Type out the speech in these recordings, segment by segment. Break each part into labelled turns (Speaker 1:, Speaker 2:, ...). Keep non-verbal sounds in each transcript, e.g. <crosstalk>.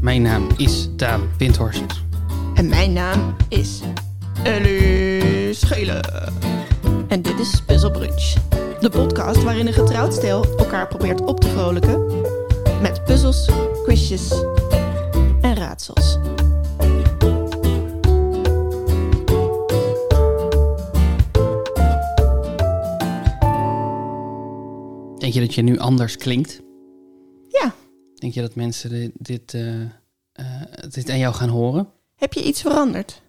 Speaker 1: Mijn naam is Daan Windhorst.
Speaker 2: En mijn naam is Ellie Schelen. En dit is Puzzle Brunch. De podcast waarin een getrouwd stel elkaar probeert op te vrolijken. Met puzzels, quizjes en raadsels.
Speaker 1: Denk je dat je nu anders klinkt?
Speaker 2: Ja,
Speaker 1: Denk je dat mensen di- dit, eh, eh, dit aan jou gaan horen?
Speaker 2: heb je iets veranderd?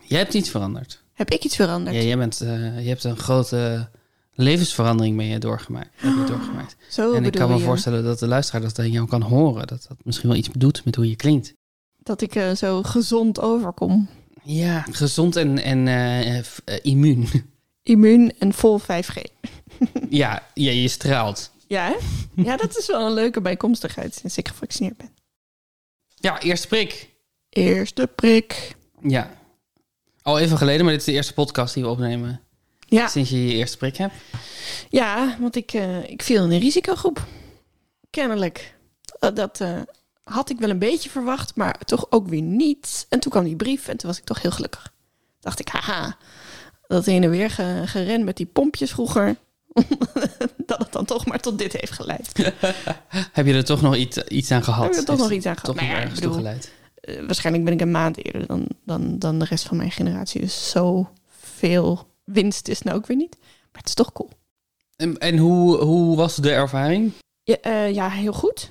Speaker 1: Jij hebt iets veranderd.
Speaker 2: Heb ik iets
Speaker 1: Ja,
Speaker 2: veranderd?
Speaker 1: jij bent, eh, je hebt een grote levensverandering mee doorgemaakt. Heb je doorgemaakt.
Speaker 2: Zo
Speaker 1: en ik
Speaker 2: Oh, bedoel
Speaker 1: kan me
Speaker 2: je
Speaker 1: voorstellen dat de luisteraar dat aan jou kan horen. Dat dat misschien wel iets doet met hoe je klinkt.
Speaker 2: dat ik eh, zo gezond overkom.
Speaker 1: Ja, gezond en, en eh, eh, f- eh,
Speaker 2: <laughs>
Speaker 1: immuun.
Speaker 2: Immuun en vol 5G.
Speaker 1: ja, ja, je straalt.
Speaker 2: Ja,
Speaker 1: <laughs>
Speaker 2: hè? ja, dat is wel een leuke bijkomstigheid sinds ik gevaccineerd ben.
Speaker 1: Ja, eerste prik.
Speaker 2: Eerste prik.
Speaker 1: Ja. Al even geleden, maar dit is de eerste podcast die we opnemen
Speaker 2: Ja,
Speaker 1: sinds je je eerste prik hebt.
Speaker 2: ja want ik, eh, ik viel in een risicogroep. Kennelijk. Eh, dat eh, had ik wel een beetje verwacht, maar toch ook weer niet. En toen kwam die brief en toen was ik toch heel gelukkig. Dacht ik, haha, dat heen en weer ge- geren met die pompjes vroeger. <laughs> dat het dan toch maar tot dit heeft geleid.
Speaker 1: Heb je er toch nog iets, iets aan gehad?
Speaker 2: Heb je er toch
Speaker 1: Heeft
Speaker 2: nog iets aan gehad?
Speaker 1: Toch nog
Speaker 2: Nou ja, ik
Speaker 1: ergens toe
Speaker 2: bedoel,
Speaker 1: geleid.
Speaker 2: eh, waarschijnlijk ben ik een maand eerder dan, dan, dan de rest van mijn generatie. Dus zoveel winst is nou ook weer niet. Maar het is toch cool.
Speaker 1: En, en hoe, hoe was de ervaring?
Speaker 2: Ja, eh, ja heel goed.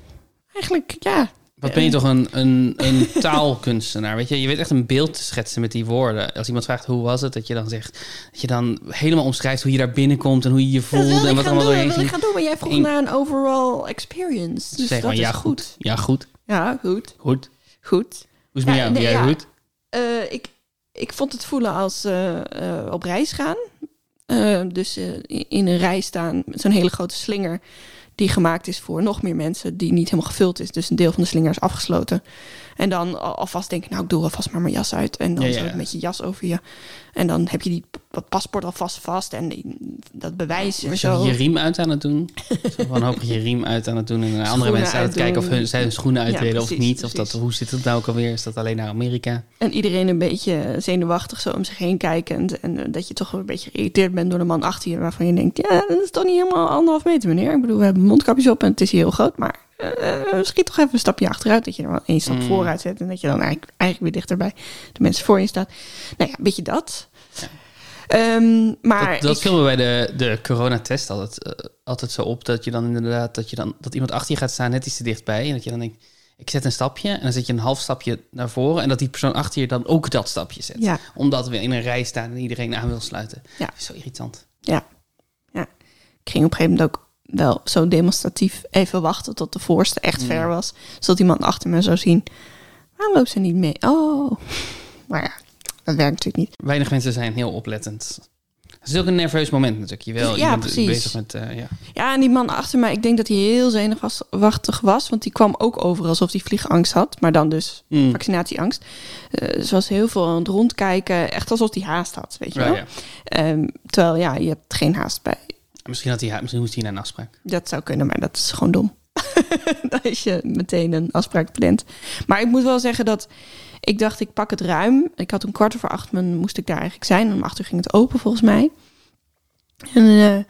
Speaker 2: Eigenlijk, ja.
Speaker 1: Wat
Speaker 2: Eh.
Speaker 1: ben je toch een, een,
Speaker 2: <laughs>
Speaker 1: een taalkunstenaar? Weet je? je weet echt een beeld te schetsen met die woorden. Als iemand vraagt hoe was het, dat je dan zegt dat je dan helemaal omschrijft hoe je daar binnenkomt en hoe je je
Speaker 2: Dat
Speaker 1: voelde
Speaker 2: wil
Speaker 1: en
Speaker 2: ik
Speaker 1: wat
Speaker 2: gaan
Speaker 1: allemaal
Speaker 2: doen, dat
Speaker 1: doorheen
Speaker 2: wil
Speaker 1: ging.
Speaker 2: ik gaan doen. Maar jij vroeg
Speaker 1: In-
Speaker 2: naar een overall experience. Dus
Speaker 1: Zeg
Speaker 2: dat
Speaker 1: maar,
Speaker 2: is
Speaker 1: ja,
Speaker 2: goed.
Speaker 1: goed. Ja, goed.
Speaker 2: Ja, goed.
Speaker 1: Goed.
Speaker 2: Goed.
Speaker 1: Hoe is het met
Speaker 2: Ja,
Speaker 1: jou?
Speaker 2: nee,
Speaker 1: Ja,
Speaker 2: ja.
Speaker 1: goed.
Speaker 2: Eh, ik, ik vond het voelen als eh, eh, op reis gaan. Eh, dus eh, in- in een rij staan met zo'n hele grote slinger. Die gemaakt is voor nog meer mensen. Die niet helemaal gevuld is. Dus een deel van de slinger is afgesloten. En dan al- alvast denken, nou ik doe alvast maar mijn jas uit. En dan
Speaker 1: Ja, ja.
Speaker 2: zo met je jas over je. En dan heb je die, dat paspoort alvast vast. En die- dat bewijs en
Speaker 1: Was
Speaker 2: zo.
Speaker 1: je je riem uit aan het doen? Zo van hoop je riem uit aan het doen en naar andere
Speaker 2: Schoenen
Speaker 1: mensen aan het
Speaker 2: uitdoen.
Speaker 1: kijken of hun, zij hun schoenen
Speaker 2: Ja,
Speaker 1: uitdelen of
Speaker 2: precies,
Speaker 1: niet. Of dat,
Speaker 2: precies.
Speaker 1: hoe zit het nou ook alweer? Is dat alleen naar Amerika?
Speaker 2: En iedereen een beetje zenuwachtig zo om zich heen kijkend. En eh, dat je toch een beetje geïrriteerd bent door de man achter je. Waarvan je denkt, ja, dat is toch niet helemaal anderhalf meter meneer. Ik bedoel, we hebben mondkapjes op en het is hier heel groot. Maar eh, eh, schiet toch even een stapje achteruit. Dat je er wel één stap
Speaker 1: Mm.
Speaker 2: vooruit zet. En dat je dan eigenlijk, eigenlijk weer dichter bij de mensen voor je staat. Nou ja, een beetje dat. Ehm, maar
Speaker 1: dat dat
Speaker 2: ik-
Speaker 1: viel me bij de, de coronatest altijd, eh, altijd zo op. Dat je dan inderdaad, dat je dan dat iemand achter je gaat staan, net iets te dichtbij. En dat je dan denkt, ik zet een stapje. En dan zet je een half stapje naar voren. En dat die persoon achter je dan ook dat stapje zet.
Speaker 2: ja,
Speaker 1: Omdat we in een rij staan en iedereen aan wil sluiten.
Speaker 2: Ja.
Speaker 1: Dat is zo irritant.
Speaker 2: ik ging op een gegeven moment ook wel zo demonstratief even wachten tot de voorste echt ver was. Zodat iemand achter me zou zien, waarom loopt ze niet mee? Oh, maar ja, dat werkt natuurlijk niet.
Speaker 1: Weinig mensen zijn heel oplettend. Het is ook een nerveus moment natuurlijk. Je, wel,
Speaker 2: Ja,
Speaker 1: je bent
Speaker 2: precies.
Speaker 1: bezig met... eh, ja.
Speaker 2: Ja, en die man achter mij, ik denk dat hij heel zenuwachtig was. Want die kwam ook over alsof hij vliegangst had. Maar dan dus
Speaker 1: Mm.
Speaker 2: vaccinatieangst. Eh ze was heel veel aan het rondkijken. Echt alsof hij haast had, weet je
Speaker 1: Ja,
Speaker 2: wel.
Speaker 1: ja.
Speaker 2: Ehm, terwijl, ja, je hebt geen haast bij.
Speaker 1: Misschien, had hij, ha- misschien moest hij naar een afspraak.
Speaker 2: Dat zou kunnen, maar dat is gewoon dom. <laughs> Als je meteen een afspraak plant. Maar ik moet wel zeggen dat ik dacht, ik pak het ruim. Ik had om kwart over acht, men, moest ik daar eigenlijk zijn. Om acht uur ging het open volgens mij. En eh,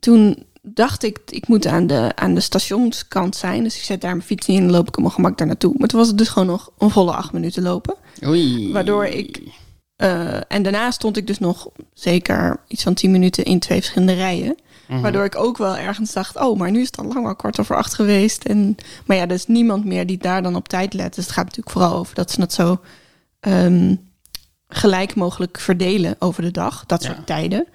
Speaker 2: toen dacht ik, ik moet aan de, aan de stationskant zijn. Dus ik zet daar mijn fiets in en dan loop ik op mijn gemak daar naartoe. Maar toen was het dus gewoon nog een volle acht minuten lopen.
Speaker 1: Oei.
Speaker 2: Waardoor ik- Eh, en daarna stond ik dus nog zeker iets van tien minuten in twee verschillende rijen.
Speaker 1: Mhm.
Speaker 2: Waardoor ik ook wel ergens dacht, oh, maar nu is het al lang al kwart over acht geweest. En, maar ja, er is niemand meer die daar dan op tijd let. Dus het gaat natuurlijk vooral over dat ze het zo ehm, gelijk mogelijk verdelen over de dag. Dat
Speaker 1: Ja.
Speaker 2: soort tijden.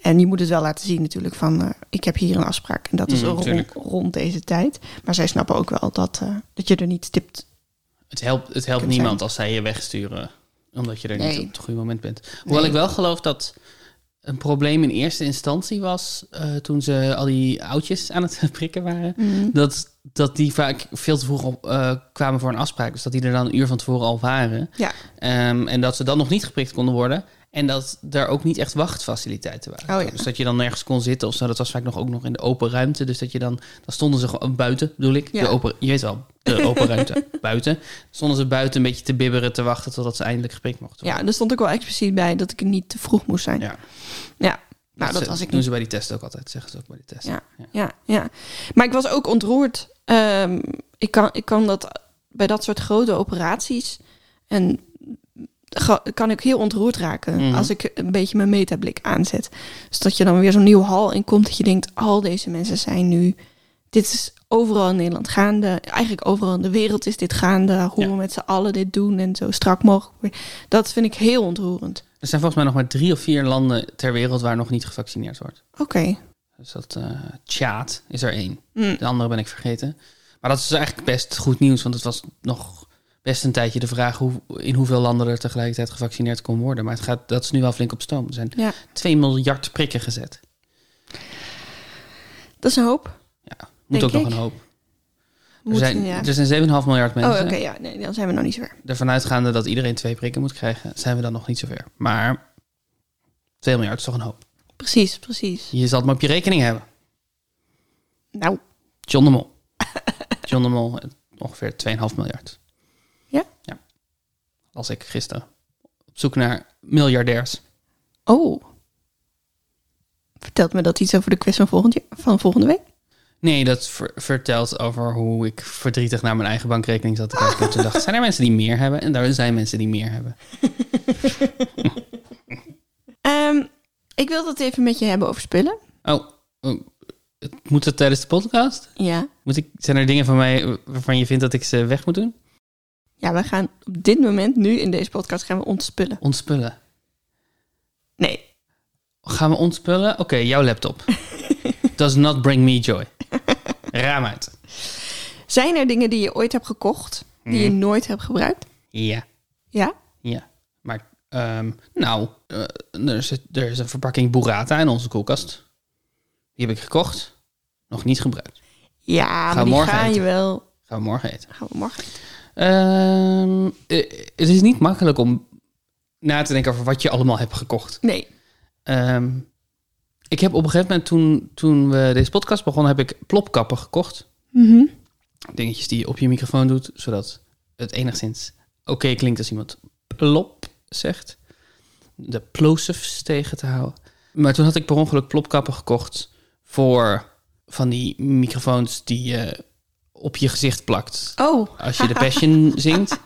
Speaker 2: En je moet het wel laten zien natuurlijk van, eh, ik heb hier een afspraak. En dat is
Speaker 1: Mm,
Speaker 2: ro-
Speaker 1: tuurlijk.
Speaker 2: rond deze tijd. Maar zij snappen ook wel dat, eh, dat je er niet stipt.
Speaker 1: Het helpt, het helpt
Speaker 2: Kunt
Speaker 1: niemand als zij je wegsturen, omdat je er
Speaker 2: Nee.
Speaker 1: niet op het goede moment bent. Hoewel
Speaker 2: Nee.
Speaker 1: ik wel geloof dat een probleem in eerste instantie was eh, toen ze al die oudjes aan het <laughs> prikken waren.
Speaker 2: Mhm.
Speaker 1: Dat, dat die vaak veel te vroeg op, eh, kwamen voor een afspraak. Dus dat die er dan een uur van tevoren al waren.
Speaker 2: Ja.
Speaker 1: Ehm, en dat ze dan nog niet geprikt konden worden. En dat daar ook niet echt wachtfaciliteiten waren.
Speaker 2: Oh ja.
Speaker 1: Dus dat je dan nergens kon zitten of zo. Dat was vaak nog ook nog in de open ruimte. Dus dat je dan, dan stonden ze gewoon buiten, bedoel ik.
Speaker 2: Ja.
Speaker 1: De open, je weet wel, de open
Speaker 2: <laughs>
Speaker 1: ruimte. Buiten. Stonden ze buiten een beetje te bibberen, te wachten totdat ze eindelijk geprikt mochten
Speaker 2: Ja, er stond ook wel expliciet bij dat ik niet te vroeg moest zijn.
Speaker 1: Ja.
Speaker 2: Ja, nou dat
Speaker 1: ze-
Speaker 2: was ik
Speaker 1: doen
Speaker 2: niet.
Speaker 1: ze bij die test ook altijd, zeggen ze ook bij die test.
Speaker 2: Ja, ja. Maar ik was ook ontroerd. Ehm, ik, kan, ik kan dat bij dat soort grote operaties. En ga- kan ik heel ontroerd raken
Speaker 1: Mhm.
Speaker 2: als ik een beetje mijn metablik aanzet. Dus dat je dan weer zo'n nieuw hal in komt. Dat je denkt, al deze mensen zijn nu. Dit is overal in Nederland gaande. Eigenlijk overal in de wereld is dit gaande. Hoe
Speaker 1: Ja.
Speaker 2: we met z'n allen dit doen en zo strak mogelijk. Dat vind ik heel ontroerend.
Speaker 1: Er zijn volgens mij nog maar drie of vier landen ter wereld waar nog niet gevaccineerd wordt.
Speaker 2: Oké.
Speaker 1: Dus dat eh Tjaad is er één.
Speaker 2: Hm.
Speaker 1: De andere ben ik vergeten. Maar dat is dus eigenlijk best goed nieuws, want het was nog best een tijdje de vraag hoe, in hoeveel landen er tegelijkertijd gevaccineerd kon worden. Maar het gaat, dat is nu wel flink op stoom. Er zijn
Speaker 2: Ja.
Speaker 1: 2 miljard prikken gezet.
Speaker 2: Dat is een hoop.
Speaker 1: Ja, moet
Speaker 2: Denk
Speaker 1: ook nog
Speaker 2: ik.
Speaker 1: een hoop. Er
Speaker 2: Moet-
Speaker 1: zijn,
Speaker 2: ja.
Speaker 1: er zijn 7,5 miljard
Speaker 2: Oh,
Speaker 1: mensen.
Speaker 2: oké. ja, nee, dan zijn we nog niet zo ver.
Speaker 1: Ervan uitgaande dat iedereen twee prikken moet krijgen, zijn we dan nog niet zover. Maar 2 miljard is toch een hoop.
Speaker 2: Precies, precies.
Speaker 1: Je zal het maar op je rekening hebben.
Speaker 2: Nou,
Speaker 1: John de Mol. <laughs> John de Mol, eh, ongeveer 2,5 miljard.
Speaker 2: Ja?
Speaker 1: Ja. Als ik gisteren op zoek naar miljardairs.
Speaker 2: oh. Vertelt me dat iets over de quiz van volgend jaar- van volgende week?
Speaker 1: Nee, dat ver- vertelt over hoe ik verdrietig naar mijn eigen bankrekening zat te kijken. En toen dacht, zijn er mensen die meer hebben? En daar zijn mensen die meer hebben.
Speaker 2: Ehm, ik wil het even met je hebben over spullen.
Speaker 1: Oh, eh, moet dat tijdens de podcast?
Speaker 2: Ja.
Speaker 1: Moet ik, zijn er dingen van mij eh, waarvan je vindt dat ik ze weg moet doen?
Speaker 2: Ja, we gaan op dit moment, nu in deze podcast, gaan we ontspullen.
Speaker 1: Ontspullen.
Speaker 2: Nee.
Speaker 1: Gaan we ontspullen? Oké, jouw laptop. Does not bring me joy. Raam uit.
Speaker 2: Zijn er dingen die je ooit hebt gekocht, die
Speaker 1: Mm.
Speaker 2: je nooit hebt gebruikt?
Speaker 1: Ja.
Speaker 2: Ja.
Speaker 1: Ja, maar ehm, nou, eh, er, zit, er is een verpakking burrata in onze koelkast. Die heb ik gekocht, nog niet gebruikt.
Speaker 2: Ja, maar die
Speaker 1: morgen
Speaker 2: ga je
Speaker 1: eten.
Speaker 2: wel.
Speaker 1: Gaan we morgen eten.
Speaker 2: Gaan we morgen.
Speaker 1: Ehm, eh, het is niet makkelijk om na te denken over wat je allemaal hebt gekocht.
Speaker 2: Nee.
Speaker 1: Ehm, ik heb op een gegeven moment, toen, toen we deze podcast begonnen, heb ik plopkappen gekocht.
Speaker 2: Mhm.
Speaker 1: Dingetjes die je op je microfoon doet, zodat het enigszins oké klinkt als iemand plop zegt. De plosives tegen te houden. Maar toen had ik per ongeluk plopkappen gekocht voor van die microfoons die je op je gezicht plakt.
Speaker 2: Oh.
Speaker 1: Als je de Passion zingt.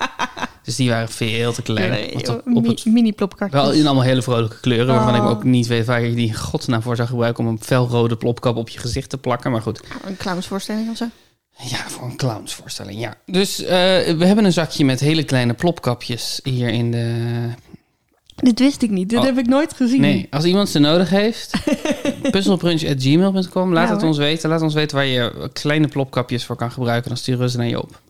Speaker 1: Dus die waren veel te klein. Want op, op het,
Speaker 2: oh, mini plopkartjes.
Speaker 1: wel in allemaal hele vrolijke kleuren, waarvan
Speaker 2: Oh.
Speaker 1: ik ook niet weet waar ik die in godsnaam voor zou gebruiken om een felrode plopkap op je gezicht te plakken. Maar goed,
Speaker 2: Een clownsvoorstelling of zo.
Speaker 1: ja, voor een clownsvoorstelling, ja. Dus eh, we hebben een zakje met hele kleine plopkapjes hier in de...
Speaker 2: Dit wist ik niet. Dit
Speaker 1: Oh.
Speaker 2: heb ik nooit gezien.
Speaker 1: Nee, als iemand ze nodig
Speaker 2: <laughs>
Speaker 1: heeft, puzzelbrunch.gmail.com. Laat
Speaker 2: Ja,
Speaker 1: het
Speaker 2: hoor.
Speaker 1: ons weten. Laat ons weten waar je kleine plopkapjes voor kan gebruiken. Dan sturen we ze naar je op.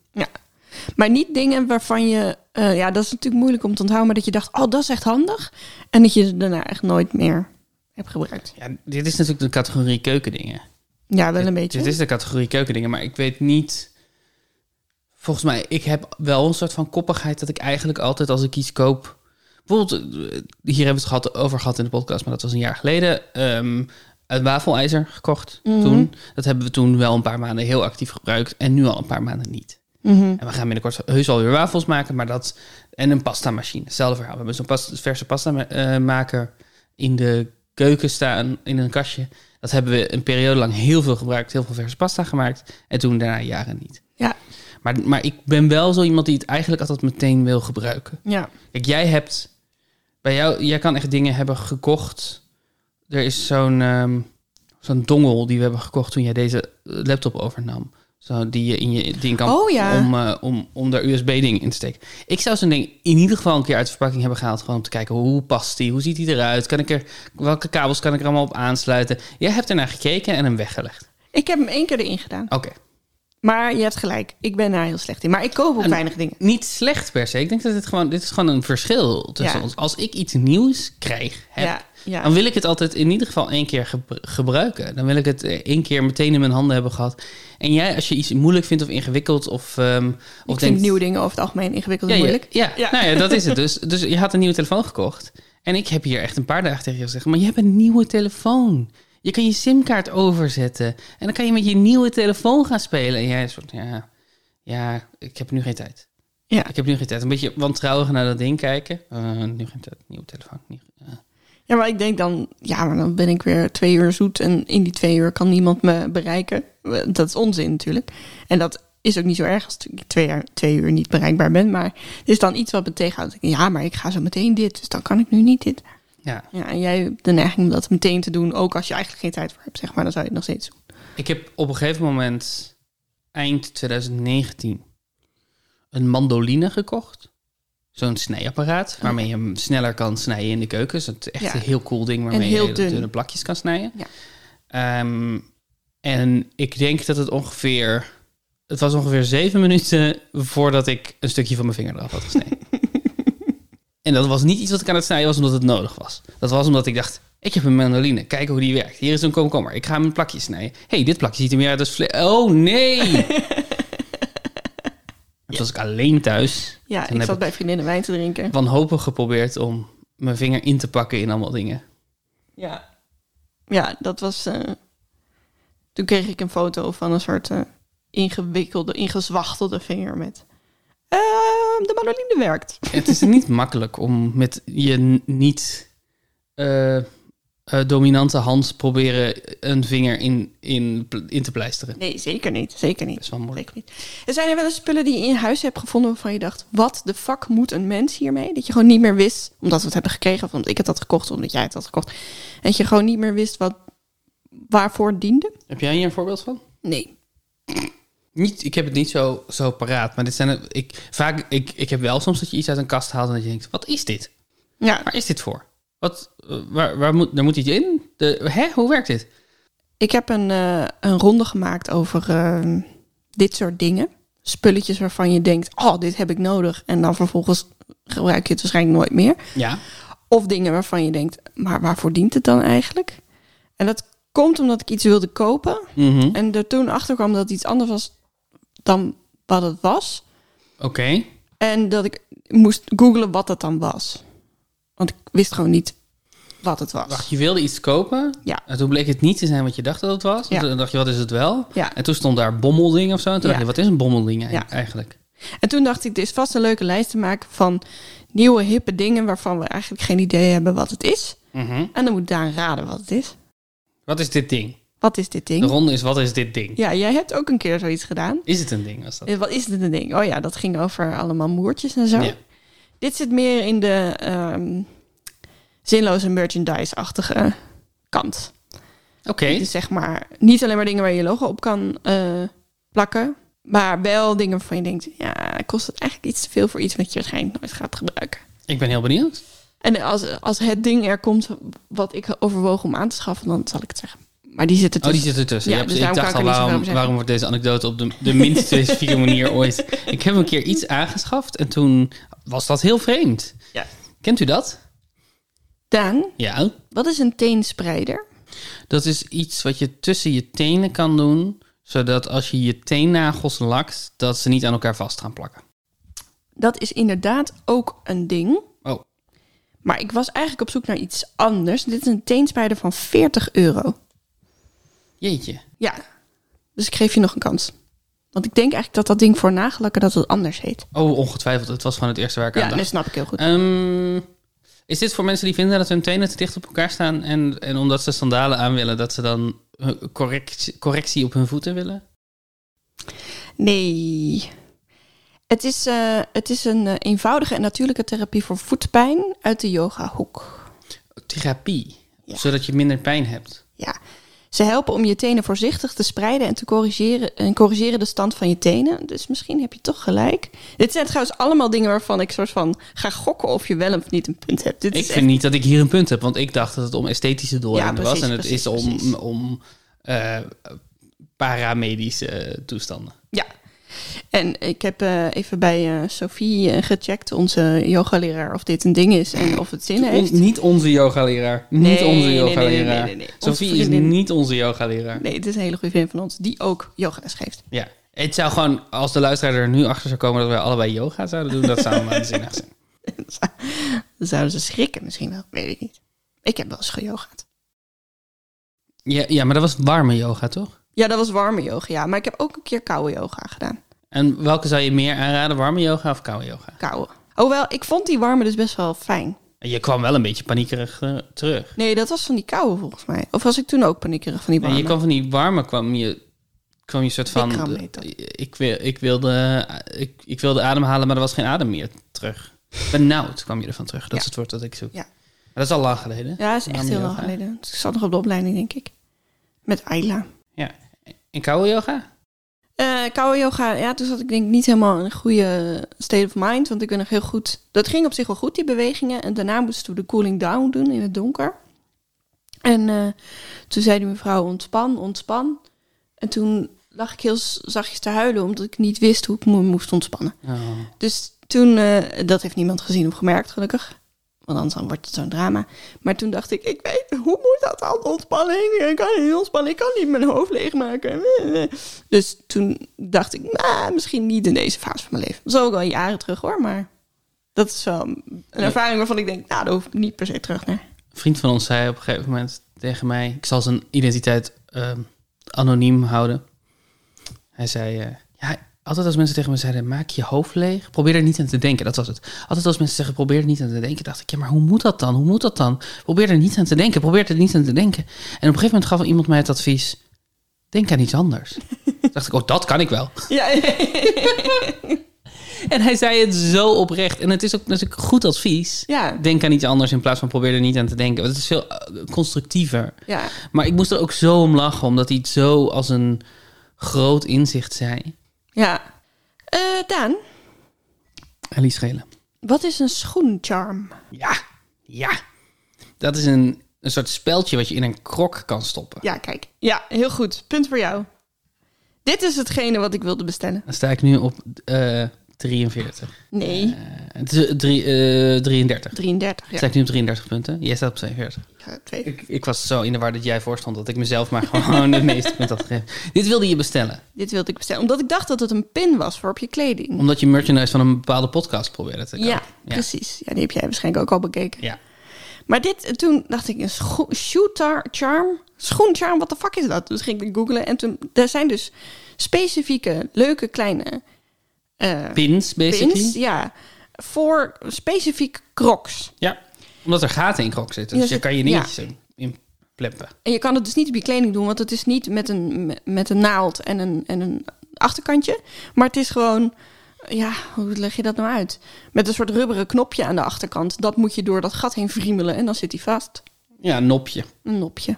Speaker 2: Maar niet dingen waarvan je, eh, ja, dat is natuurlijk moeilijk om te onthouden, maar dat je dacht, oh, dat is echt handig. En dat je ze daarna echt nooit meer hebt gebruikt.
Speaker 1: Ja, dit is natuurlijk de categorie keukendingen.
Speaker 2: Ja, wel
Speaker 1: Dit
Speaker 2: een beetje.
Speaker 1: is de categorie keukendingen, maar ik weet niet... Volgens mij, ik heb wel een soort van koppigheid dat ik eigenlijk altijd als ik iets koop... Bijvoorbeeld, eh, hier hebben we het gehad, over gehad in de podcast, maar dat was een jaar geleden. ehm, een wafelijzer gekocht
Speaker 2: Mhm.
Speaker 1: toen. Dat hebben we toen wel een paar maanden heel actief gebruikt en nu al een paar maanden niet.
Speaker 2: Mhm.
Speaker 1: En we gaan binnenkort heus alweer wafels maken, maar dat... En een pasta machine, hetzelfde verhaal. We hebben zo'n pas- verse pasta ma- eh, maker in de keuken staan, in een kastje. Dat hebben we een periode lang heel veel gebruikt, heel veel verse pasta gemaakt. En toen daarna jaren niet.
Speaker 2: Ja.
Speaker 1: Maar, maar ik ben wel zo iemand die het eigenlijk altijd meteen wil gebruiken.
Speaker 2: Ja.
Speaker 1: Kijk, jij hebt... Bij jou, jij kan echt dingen hebben gekocht. Er is zo'n ehm zo'n dongel die we hebben gekocht toen jij deze eh, laptop overnam. Zo, die je in je ding kan
Speaker 2: Oh ja.
Speaker 1: om, eh, om, om daar USB-ding in te steken. Ik zou zo'n ding in ieder geval een keer uit de verpakking hebben gehaald. Gewoon om te kijken hoe past die? Hoe ziet die eruit? Kan ik er, welke kabels kan ik er allemaal op aansluiten? Jij hebt ernaar gekeken en hem weggelegd.
Speaker 2: Ik heb hem één keer erin gedaan.
Speaker 1: Oké.
Speaker 2: Maar je hebt gelijk, ik ben daar heel slecht in. Maar ik koop ook
Speaker 1: En-
Speaker 2: weinig dingen.
Speaker 1: Niet slecht per se. Ik denk dat dit gewoon, dit is gewoon een verschil tussen
Speaker 2: Ja.
Speaker 1: ons. Als ik iets nieuws krijg, heb,
Speaker 2: Ja, ja.
Speaker 1: dan wil ik het altijd in ieder geval één keer gebr- gebruiken. Dan wil ik het eh, één keer meteen in mijn handen hebben gehad. En jij, als je iets moeilijk vindt of ingewikkeld of, ehm of
Speaker 2: ik vind nieuwe dingen over het algemeen ingewikkeld en
Speaker 1: ja,
Speaker 2: moeilijk.
Speaker 1: Ja, ja.
Speaker 2: Ja.
Speaker 1: Nou ja, dat is het dus. Dus je had een nieuwe telefoon gekocht. En ik heb hier echt een paar dagen tegen je gezegd, maar je hebt een nieuwe telefoon. Je kan je simkaart overzetten. En dan kan je met je nieuwe telefoon gaan spelen. En jij is van, ja, ja, ik heb nu geen tijd.
Speaker 2: Ja.
Speaker 1: Ik heb nu geen tijd. Een beetje wantrouwig naar dat ding kijken. Eh, nu geen tijd. Nieuwe telefoon. Nieuw, eh.
Speaker 2: Ja, maar ik denk dan, ja, maar dan ben ik weer twee uur zoet en in die twee uur kan niemand me bereiken. Dat is onzin natuurlijk. En dat is ook niet zo erg als ik twee, jaar, twee uur niet bereikbaar ben. Maar het is dan iets wat me tegenhoudt. Ja, maar ik ga zo meteen dit, dus dan kan ik nu niet dit.
Speaker 1: Ja,
Speaker 2: Ja, en jij hebt de neiging om dat meteen te doen, ook als je eigenlijk geen tijd voor hebt, zeg maar, dan zou je het nog steeds doen.
Speaker 1: ik heb op een gegeven moment, eind 2019, een mandoline gekocht. Zo'n snijapparaat, waarmee je hem sneller kan snijden in de keuken. Dus het is echt
Speaker 2: Ja.
Speaker 1: een heel cool ding waarmee
Speaker 2: heel
Speaker 1: je hele
Speaker 2: dun.
Speaker 1: dunne plakjes kan snijden.
Speaker 2: Ja.
Speaker 1: Ehm, en ik denk dat het ongeveer... Het was ongeveer zeven minuten voordat ik een stukje van mijn vinger eraf had gesneden. en dat was niet iets wat ik aan het snijden was omdat het nodig was. Dat was omdat ik dacht, ik heb een mandoline, kijk hoe die werkt. Hier is een komkommer, ik ga hem een plakje snijden. hey, dit plakje ziet er meer uit als vle... Oh, nee! Toen was ik alleen thuis.
Speaker 2: Ja,
Speaker 1: Toen
Speaker 2: ik
Speaker 1: heb
Speaker 2: zat bij vriendinnen wijn te drinken.
Speaker 1: wanhopig geprobeerd om mijn vinger in te pakken in allemaal dingen.
Speaker 2: Ja. Ja, dat was. eh, toen kreeg ik een foto van een soort eh, ingewikkelde, ingezwachtelde vinger met. "Ehm, de mandoline werkt.
Speaker 1: Het is niet makkelijk om met je n- niet eh, eh, dominante hand proberen een vinger in, in, pl- in te pleisteren.
Speaker 2: Nee, zeker niet. Zeker niet.
Speaker 1: Dat is wel moeilijk.
Speaker 2: Zeker niet. Er zijn er wel eens spullen die je in huis hebt gevonden waarvan je dacht: wat de fuck moet een mens hiermee? Dat je gewoon niet meer wist, omdat we het hebben gekregen, of omdat ik het had gekocht, of omdat jij het had gekocht. En dat je gewoon niet meer wist wat, waarvoor het diende?
Speaker 1: Heb jij hier een voorbeeld van?
Speaker 2: Nee.
Speaker 1: Niet, ik heb het niet zo, zo paraat, maar dit zijn het- ik, vaak, ik, ik heb wel soms dat je iets uit een kast haalt en dat je denkt, wat is dit?
Speaker 2: Ja,
Speaker 1: Waar is dit voor? Wat, eh, waar, waar moet, daar moet iets in? De, hè, hoe werkt dit?
Speaker 2: Ik heb een, eh, een ronde gemaakt over eh, dit soort dingen. Spulletjes waarvan je denkt, oh, dit heb ik nodig. En dan vervolgens gebruik je het waarschijnlijk nooit meer.
Speaker 1: Ja,
Speaker 2: Of dingen waarvan je denkt, maar waarvoor dient het dan eigenlijk? En dat komt omdat ik iets wilde kopen.
Speaker 1: Mhm.
Speaker 2: En er toen achter kwam dat het iets anders was dan wat het was.
Speaker 1: oké.
Speaker 2: En dat ik moest googlen wat dat dan was. Want ik wist gewoon niet wat het was.
Speaker 1: Wacht, je wilde iets kopen.
Speaker 2: Ja.
Speaker 1: En toen bleek het niet te zijn wat je dacht dat het was.
Speaker 2: Ja.
Speaker 1: En toen dacht je, wat is het wel?
Speaker 2: Ja.
Speaker 1: En toen stond daar bommelding of zo. En toen
Speaker 2: Ja.
Speaker 1: dacht je, wat is een bommelding
Speaker 2: Ja.
Speaker 1: eigenlijk?
Speaker 2: En toen dacht ik, dit is vast een leuke lijst te maken van nieuwe hippe dingen waarvan we eigenlijk geen idee hebben wat het is.
Speaker 1: Mhm.
Speaker 2: En dan moet Daan raden wat het is.
Speaker 1: Wat is dit ding?
Speaker 2: Wat is dit
Speaker 1: De
Speaker 2: ding?
Speaker 1: ronde is, wat is dit ding?
Speaker 2: Ja, jij hebt ook een keer zoiets gedaan.
Speaker 1: Is het een ding? Was dat?
Speaker 2: Eh, Wat is dit een ding? Oh ja, dat ging over allemaal moertjes en zo.
Speaker 1: Ja.
Speaker 2: Dit zit meer in de ehm, zinloze merchandise-achtige kant.
Speaker 1: Oké.
Speaker 2: Dus zeg maar niet alleen maar dingen waar je je logo op kan eh, plakken, maar wel dingen waarvan je denkt, ja, kost het eigenlijk iets te veel voor iets wat je waarschijnlijk nooit gaat gebruiken.
Speaker 1: Ik ben heel benieuwd.
Speaker 2: En als, als het ding er komt wat ik overwoog om aan te schaffen, dan zal ik het zeggen. Maar die zit er
Speaker 1: Oh, die
Speaker 2: tussen.
Speaker 1: zit ertussen.
Speaker 2: Ja,
Speaker 1: Ja,
Speaker 2: dus
Speaker 1: ik
Speaker 2: daarom
Speaker 1: dacht
Speaker 2: kan
Speaker 1: al,
Speaker 2: ik er niet zoveel
Speaker 1: waarom,
Speaker 2: over
Speaker 1: waarom wordt deze anekdote op de, de
Speaker 2: <laughs>
Speaker 1: minst specifieke manier ooit? Ik heb een keer iets aangeschaft en toen was dat heel vreemd.
Speaker 2: Ja.
Speaker 1: Kent u dat?
Speaker 2: Daan,
Speaker 1: Ja.
Speaker 2: wat is een teenspreider?
Speaker 1: Dat is iets wat je tussen je tenen kan doen, zodat als je je teennagels lakt, dat ze niet aan elkaar vast gaan plakken.
Speaker 2: Dat is inderdaad ook een ding.
Speaker 1: Oh,
Speaker 2: Maar ik was eigenlijk op zoek naar iets anders. Dit is een teenspreider van 40 euro.
Speaker 1: jeetje.
Speaker 2: Ja. Dus ik geef je nog een kans. Want ik denk eigenlijk dat dat ding voor nagellakken dat het anders heet.
Speaker 1: Oh, ongetwijfeld. Het was gewoon het eerste werk ik
Speaker 2: Ja, dus-
Speaker 1: aan
Speaker 2: dat
Speaker 1: dacht.
Speaker 2: snap ik heel goed.
Speaker 1: Ehm, is dit voor mensen die vinden dat hun tenen te dicht op elkaar staan en, en omdat ze sandalen aan willen, dat ze dan eh, correct, correctie op hun voeten willen?
Speaker 2: Nee. Het is, eh, het is een eh, eenvoudige en natuurlijke therapie voor voetpijn uit de yoga-hoek.
Speaker 1: Therapie,
Speaker 2: Ja.
Speaker 1: zodat je minder pijn hebt.
Speaker 2: Ja. Ze helpen om je tenen voorzichtig te spreiden en te corrigeren, en corrigeren de stand van je tenen. Dus misschien heb je toch gelijk. Dit zijn trouwens allemaal dingen waarvan ik soort van ga gokken of je wel of niet een punt hebt. Dit
Speaker 1: Ik
Speaker 2: is
Speaker 1: vind niet dat ik hier een punt heb, want ik dacht dat het om esthetische doeleinden was
Speaker 2: precies,
Speaker 1: en het
Speaker 2: precies,
Speaker 1: is om,
Speaker 2: precies.
Speaker 1: om eh, paramedische eh, toestanden.
Speaker 2: Ja. En ik heb eh, even bij eh, Sophie eh, gecheckt, onze yogaleraar, of dit een ding is en of het zin heeft.
Speaker 1: On- niet onze yogaleraar. niet
Speaker 2: Nee,
Speaker 1: onze
Speaker 2: nee, nee, nee,
Speaker 1: yogaleraar.
Speaker 2: nee, nee, nee. Onze
Speaker 1: Sophie is
Speaker 2: vriendin.
Speaker 1: niet onze yogaleraar.
Speaker 2: Nee, het is een hele goede vriend van ons die ook yogales geeft.
Speaker 1: Ja. Het zou gewoon, als
Speaker 2: <laughs>
Speaker 1: de luisteraar er nu achter zou komen dat wij allebei yoga zouden doen, dat zou waanzinnig zijn.
Speaker 2: Dat Dan zouden ze schrikken misschien wel. Weet ik niet. Ik heb wel eens geyogaat.
Speaker 1: Ja, ja, maar dat was warme yoga, toch?
Speaker 2: Ja, dat was warme yoga, ja. Maar ik heb ook een keer koude yoga gedaan.
Speaker 1: En welke zou je meer aanraden, warme yoga of koude yoga?
Speaker 2: Koude. Hoewel, ik vond die warme dus best wel fijn.
Speaker 1: Je kwam wel een beetje paniekerig eh, terug.
Speaker 2: Nee, dat was van die koude volgens mij. Of was ik toen ook paniekerig van die
Speaker 1: En
Speaker 2: warme?
Speaker 1: je kwam van die warme, kwam je, kwam je soort van... Eh,
Speaker 2: Bikram heet dat.
Speaker 1: Ik, wil, ik, wilde, eh, ik, ik wilde ademhalen, maar er was geen adem meer terug. Benauwd kwam je ervan terug. Dat
Speaker 2: Ja.
Speaker 1: is het woord dat ik zoek.
Speaker 2: Ja.
Speaker 1: Maar dat is al lang geleden.
Speaker 2: Ja, dat is echt
Speaker 1: Warme
Speaker 2: heel lang
Speaker 1: yoga.
Speaker 2: geleden. Ik zat nog op de opleiding, denk ik. Met Ayla.
Speaker 1: Ja. En koude yoga?
Speaker 2: Eh, koude yoga, ja, toen zat ik denk ik niet helemaal in een goede state of mind. Want ik ben nog heel goed... Dat ging op zich wel goed, die bewegingen. En daarna moesten we de cooling down doen in het donker. En eh, toen zei die mevrouw, ontspan, ontspan. En toen lag ik heel s- zachtjes te huilen, omdat ik niet wist hoe ik me moest ontspannen.
Speaker 1: Oh.
Speaker 2: Dus toen, eh, dat heeft niemand gezien of gemerkt, gelukkig. Want anders dan wordt het zo'n drama. Maar toen dacht ik, ik weet, hoe moet dat dan? Ontspanning, ik kan niet ontspannen, ik kan niet mijn hoofd leegmaken. Dus toen dacht ik, nou, misschien niet in deze fase van mijn leven. Dat is ook al jaren terug hoor, maar dat is wel een ervaring waarvan ik denk, nou, daar hoef ik niet per se terug naar.
Speaker 1: Een vriend van ons zei op een gegeven moment tegen mij: Ik zal zijn identiteit ehm, anoniem houden. Hij zei: eh, Ja, altijd als mensen tegen me zeiden: Maak je hoofd leeg, probeer er niet aan te denken. Dat was het. Altijd als mensen zeggen: Probeer er niet aan te denken, dacht ik: Ja, maar hoe moet dat dan? Hoe moet dat dan? Probeer er niet aan te denken, probeer er niet aan te denken. En op een gegeven moment gaf iemand mij het advies: Denk aan iets <laughs> anders. Toen dacht ik: Oh, dat kan ik wel.
Speaker 2: Ja,
Speaker 1: En hij zei het zo oprecht. En het is ook natuurlijk goed advies.
Speaker 2: ja,
Speaker 1: Denk aan iets anders in plaats van probeer er niet aan te denken. Want het is veel eh, constructiever.
Speaker 2: <laughs> ja.
Speaker 1: Maar ik moest er ook zo om lachen, omdat hij het zo als een groot inzicht zei.
Speaker 2: ja. Eh, Daan,
Speaker 1: Alice Schelen.
Speaker 2: wat is een schoencharm?
Speaker 1: Ja, ja. Dat is een, een soort speldje wat je in een krok kan stoppen.
Speaker 2: Ja, kijk. Ja, heel goed. Punt voor jou. Dit is hetgene wat ik wilde bestellen.
Speaker 1: Dan sta ik nu op eh 43.
Speaker 2: Nee,
Speaker 1: Eh, het is, eh, drie, eh, 33.
Speaker 2: 33. Ja,
Speaker 1: Sta ik nu op 33 punten? Jij staat op 42.
Speaker 2: ik ga twee.
Speaker 1: Ik, ik was zo in de war dat jij voorstond dat ik mezelf maar <laughs> gewoon de meeste punten had gegeven. Dit wilde je bestellen,
Speaker 2: Dit wilde ik bestellen. Omdat ik dacht dat het een pin was voor op je kleding.
Speaker 1: omdat je merchandise van een bepaalde podcast probeerde te kopen.
Speaker 2: Ja, precies. Ja, die heb jij waarschijnlijk ook al bekeken.
Speaker 1: Ja.
Speaker 2: Maar dit, eh, toen dacht ik, een scho- shooter charm? Schoencharm, wat de fuck is dat? Dus ging ik googlen en toen, er zijn dus specifieke, leuke, kleine eh
Speaker 1: Pins, basically.
Speaker 2: pins. Ja, voor specifiek crocs.
Speaker 1: Ja, omdat er gaten in krok zitten.
Speaker 2: Ja,
Speaker 1: Dus je
Speaker 2: zit-
Speaker 1: kan je dingetjes in- in pleppen.
Speaker 2: En je kan het dus niet op je kleding doen, want het is niet met een, me- met een naald en een, en een achterkantje. Maar het is gewoon, ja, hoe leg je dat nou uit? Met een soort rubberen knopje aan de achterkant. Dat moet je door dat gat heen friemelen en dan zit hij vast.
Speaker 1: Ja, een nopje.
Speaker 2: Een nopje.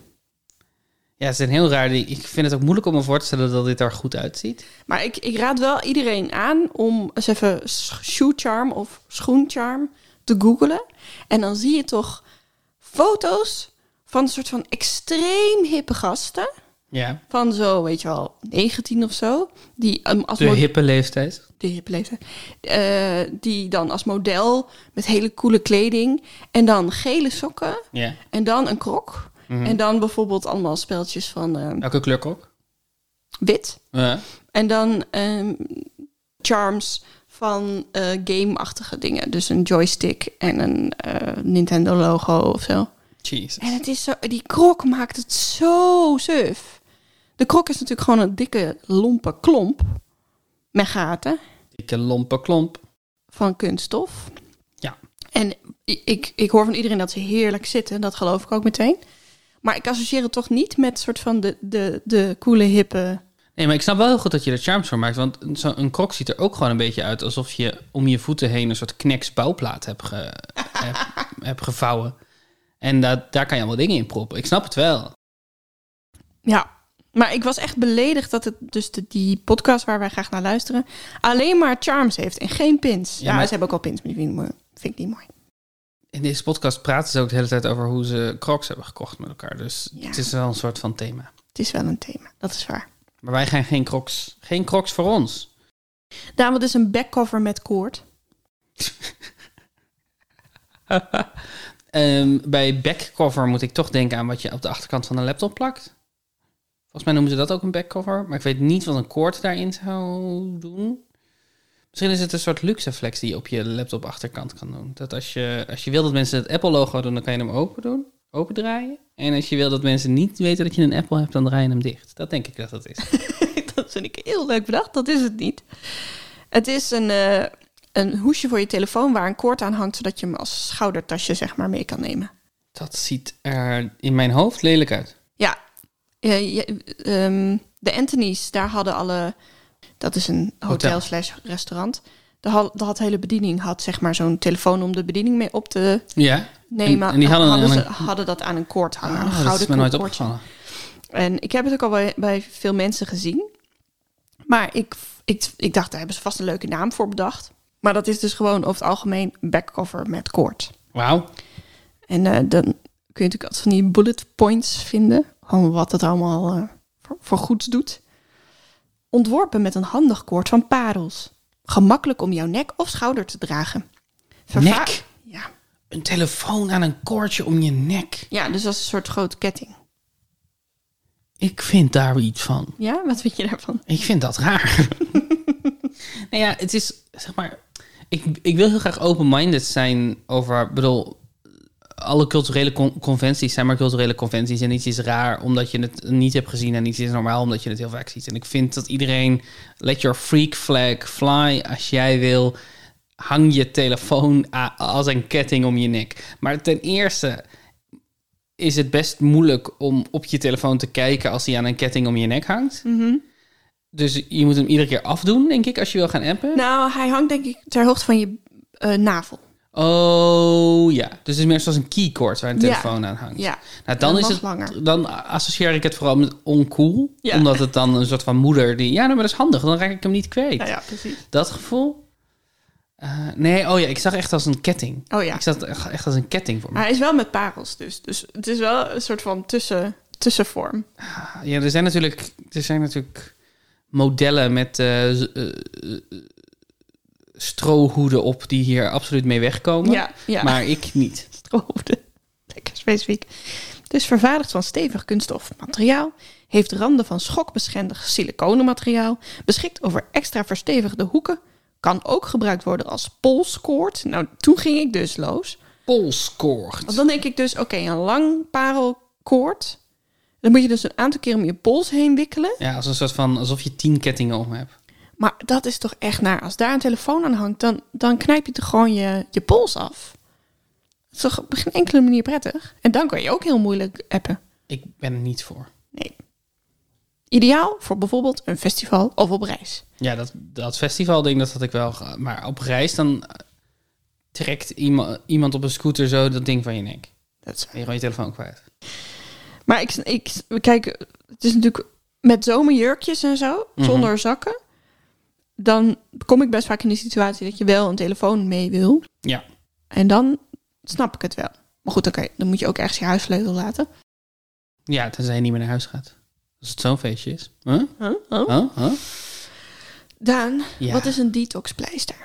Speaker 1: Ja, ze zijn heel raar. Ik vind het ook moeilijk om me voor te stellen dat dit er goed uitziet.
Speaker 2: Maar ik, ik raad wel iedereen aan om eens even sch- shoe charm of schoencharm te googelen. En dan zie je toch foto's van een soort van extreem hippe gasten.
Speaker 1: Ja.
Speaker 2: Van zo, weet je wel, 19 of zo. Die ehm, als
Speaker 1: De
Speaker 2: mod-
Speaker 1: hippe leeftijd.
Speaker 2: de hippe leeftijd. Eh, die dan als model met hele coole kleding. En dan gele sokken.
Speaker 1: Ja.
Speaker 2: En dan een krok. En dan bijvoorbeeld allemaal speltjes van eh,
Speaker 1: Welke kleur ook? Eh?
Speaker 2: wit.
Speaker 1: Ja.
Speaker 2: En dan ehm, charms van eh, game-achtige dingen. Dus een joystick en een eh, Nintendo-logo of zo.
Speaker 1: Jezus.
Speaker 2: En het is zo, die krok maakt het zo suf. De krok is natuurlijk gewoon een dikke, lompe klomp. Met gaten.
Speaker 1: Dikke lompe klomp.
Speaker 2: van kunststof.
Speaker 1: Ja.
Speaker 2: En i- ik, ik hoor van iedereen dat ze heerlijk zitten. Dat geloof ik ook meteen. Maar ik associeer het toch niet met soort van de, de, de coole hippe...
Speaker 1: Nee, maar ik snap wel heel goed dat je er charms voor maakt. Want een- zo'n een krok ziet er ook gewoon een beetje uit alsof je om je voeten heen een soort kneks bouwplaat hebt, ge, <laughs> hebt, hebt gevouwen. En daar daar kan je allemaal dingen in proppen. Ik snap het wel.
Speaker 2: Ja. Maar ik was echt beledigd dat het dus de, die podcast waar wij graag naar luisteren... alleen maar charms heeft en geen pins.
Speaker 1: Ja,
Speaker 2: Ja,
Speaker 1: maar-
Speaker 2: ze hebben ook al pins, maar die vind ik niet mooi. Vind ik niet mooi.
Speaker 1: In deze podcast praten ze ook de hele tijd over hoe ze crocs hebben gekocht met elkaar. Dus
Speaker 2: Ja.
Speaker 1: het is wel een soort van thema.
Speaker 2: Het is wel een thema, dat is waar.
Speaker 1: Maar wij gaan geen crocs. Geen crocs voor ons.
Speaker 2: Daarom, wat is een backcover met koord? <laughs>
Speaker 1: Ehm, bij backcover moet ik toch denken aan wat je op de achterkant van een laptop plakt. Volgens mij noemen ze dat ook een backcover. Maar ik weet niet wat een koord daarin zou doen. Misschien is het een soort luxe flex die je op je laptop achterkant kan doen. Dat als je, als je wil dat mensen het Apple logo doen, dan kan je hem open doen, opendraaien. En als je wil dat mensen niet weten dat je een Apple hebt, dan draai je hem dicht. Dat denk ik dat dat is.
Speaker 2: dat vind ik heel leuk bedacht. Dat is het niet. Het is een, eh, een hoesje voor je telefoon waar een koord aan hangt, zodat je hem als schoudertasje zeg maar mee kan nemen.
Speaker 1: Dat ziet er in mijn hoofd lelijk uit.
Speaker 2: Ja, Eh, je- ehm, de Anthony's, daar hadden alle... Dat is een hotel
Speaker 1: Hotel.
Speaker 2: slash restaurant. Daar had, daar had de hele bediening had zeg maar zo'n telefoon om de bediening mee op te
Speaker 1: Ja.
Speaker 2: nemen.
Speaker 1: En- en die hadden
Speaker 2: hadden,
Speaker 1: een-
Speaker 2: ze, hadden dat aan een koord hangen. een
Speaker 1: Ah, dat is
Speaker 2: gouden
Speaker 1: me nooit
Speaker 2: koordje.
Speaker 1: opgevallen.
Speaker 2: En ik heb het ook al bij, bij veel mensen gezien. Maar ik, ik, ik dacht, daar hebben ze vast een leuke naam voor bedacht. Maar dat is dus gewoon over het algemeen backcover met koord.
Speaker 1: Wauw.
Speaker 2: En eh, dan kun je natuurlijk altijd van die bullet points vinden. Gewoon wat het allemaal eh, voor, voor goeds doet. Ontworpen met een handig koord van parels. Gemakkelijk om jouw nek of schouder te dragen. Verva-
Speaker 1: Nek?
Speaker 2: Ja.
Speaker 1: Een telefoon aan een koordje om je nek.
Speaker 2: ja, dus als een soort grote ketting.
Speaker 1: Ik vind daar iets van.
Speaker 2: Ja, wat vind je daarvan?
Speaker 1: Ik vind dat <laughs> raar. nou ja, het is zeg maar. Ik, ik wil heel graag open-minded zijn over. ik bedoel, alle culturele con- conventies zijn maar culturele conventies. En iets is raar omdat je het niet hebt gezien. En iets is normaal omdat je het heel vaak ziet. En ik vind dat iedereen. Let your freak flag fly als jij wil. Hang je telefoon a- als een ketting om je nek. Maar ten eerste is het best moeilijk om op je telefoon te kijken als die aan een ketting om je nek hangt.
Speaker 2: Mhm.
Speaker 1: Dus je moet hem iedere keer afdoen, denk ik, als je wil gaan appen.
Speaker 2: Nou, hij hangt denk ik ter hoogte van je eh, navel.
Speaker 1: Oh ja, dus het is meer zoals een keycord waar een telefoon aan hangt.
Speaker 2: Ja.
Speaker 1: Nou, dan,
Speaker 2: Dat
Speaker 1: is
Speaker 2: mag
Speaker 1: het,
Speaker 2: langer.
Speaker 1: dan associeer ik het vooral met oncool.
Speaker 2: Ja.
Speaker 1: Omdat het dan een soort van moeder die... Ja, nou, maar dat is handig, dan raak ik hem niet kwijt.
Speaker 2: Nou ja, precies.
Speaker 1: Dat gevoel. Eh, nee, oh ja, ik zag echt als een ketting.
Speaker 2: Oh ja.
Speaker 1: Ik zag het echt als een ketting voor me.
Speaker 2: Maar hij is wel met parels dus. Dus het is wel een soort van tussen, tussenvorm.
Speaker 1: Ja, er zijn natuurlijk, er zijn natuurlijk modellen met eh, z- eh, eh, strohoeden op die hier absoluut mee wegkomen.
Speaker 2: Ja, ja.
Speaker 1: Maar ik niet.
Speaker 2: strohoofden. <laughs> Lekker specifiek. Het is vervaardigd van stevig kunststof materiaal, heeft randen van schokbeschendig siliconenmateriaal, beschikt over extra verstevigde hoeken, kan ook gebruikt worden als polskoord. Nou, toen ging ik dus los.
Speaker 1: Polskoord.
Speaker 2: Want dan denk ik dus, oké, een lang parelkoord. Dan moet je dus een aantal keer om je pols heen wikkelen.
Speaker 1: Ja, als een soort van alsof je tien kettingen om hebt.
Speaker 2: Maar dat is toch echt naar. Als daar een telefoon aan hangt, dan, dan knijp je toch gewoon je, je pols af. Dat is toch op geen enkele manier prettig. En dan kan je ook heel moeilijk appen.
Speaker 1: Ik ben er niet voor.
Speaker 2: Nee. Ideaal voor bijvoorbeeld een festival of op reis.
Speaker 1: Ja, dat, dat festivalding, dat had ik wel. ge- Maar op reis dan eh, trekt iemand, iemand op een scooter zo dat ding van je nek.
Speaker 2: Dat is...
Speaker 1: En je gewoon je telefoon kwijt.
Speaker 2: Maar ik, ik, kijk, het is natuurlijk met zomerjurkjes en zo,
Speaker 1: Mhm.
Speaker 2: zonder zakken. Dan kom ik best vaak in de situatie dat je wel een telefoon mee wil.
Speaker 1: Ja.
Speaker 2: En dan snap ik het wel. Maar goed, oké, dan moet je ook ergens je huissleutel laten.
Speaker 1: Ja, tenzij je niet meer naar huis gaat. Als het zo'n feestje is. Huh?
Speaker 2: Huh? Huh?
Speaker 1: Huh? Huh?
Speaker 2: Daan,
Speaker 1: Ja. Eh,
Speaker 2: wat is een detoxpleister?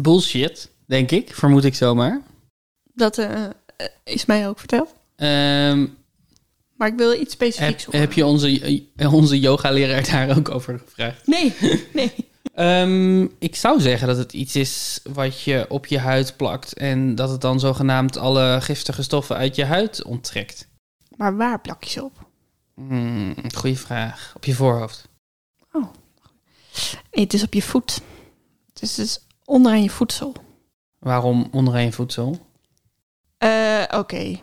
Speaker 1: Bullshit, denk ik. Vermoed ik zomaar.
Speaker 2: Dat eh, eh, is mij ook verteld.
Speaker 1: Ehm,
Speaker 2: Maar ik wil iets
Speaker 1: heb,
Speaker 2: specifieks horen.
Speaker 1: heb je onze, eh, onze yoga-leraar daar ook over gevraagd?
Speaker 2: Nee, <laughs> nee.
Speaker 1: Ehm, ik zou zeggen dat het iets is wat je op je huid plakt en dat het dan zogenaamd alle giftige stoffen uit je huid onttrekt.
Speaker 2: Maar waar plak je ze op?
Speaker 1: Hmm, goeie vraag. Op je voorhoofd.
Speaker 2: Eh, Het is op je voet. Het is dus onderaan je voedsel.
Speaker 1: Waarom onderaan je voedsel?
Speaker 2: Eh, Oké.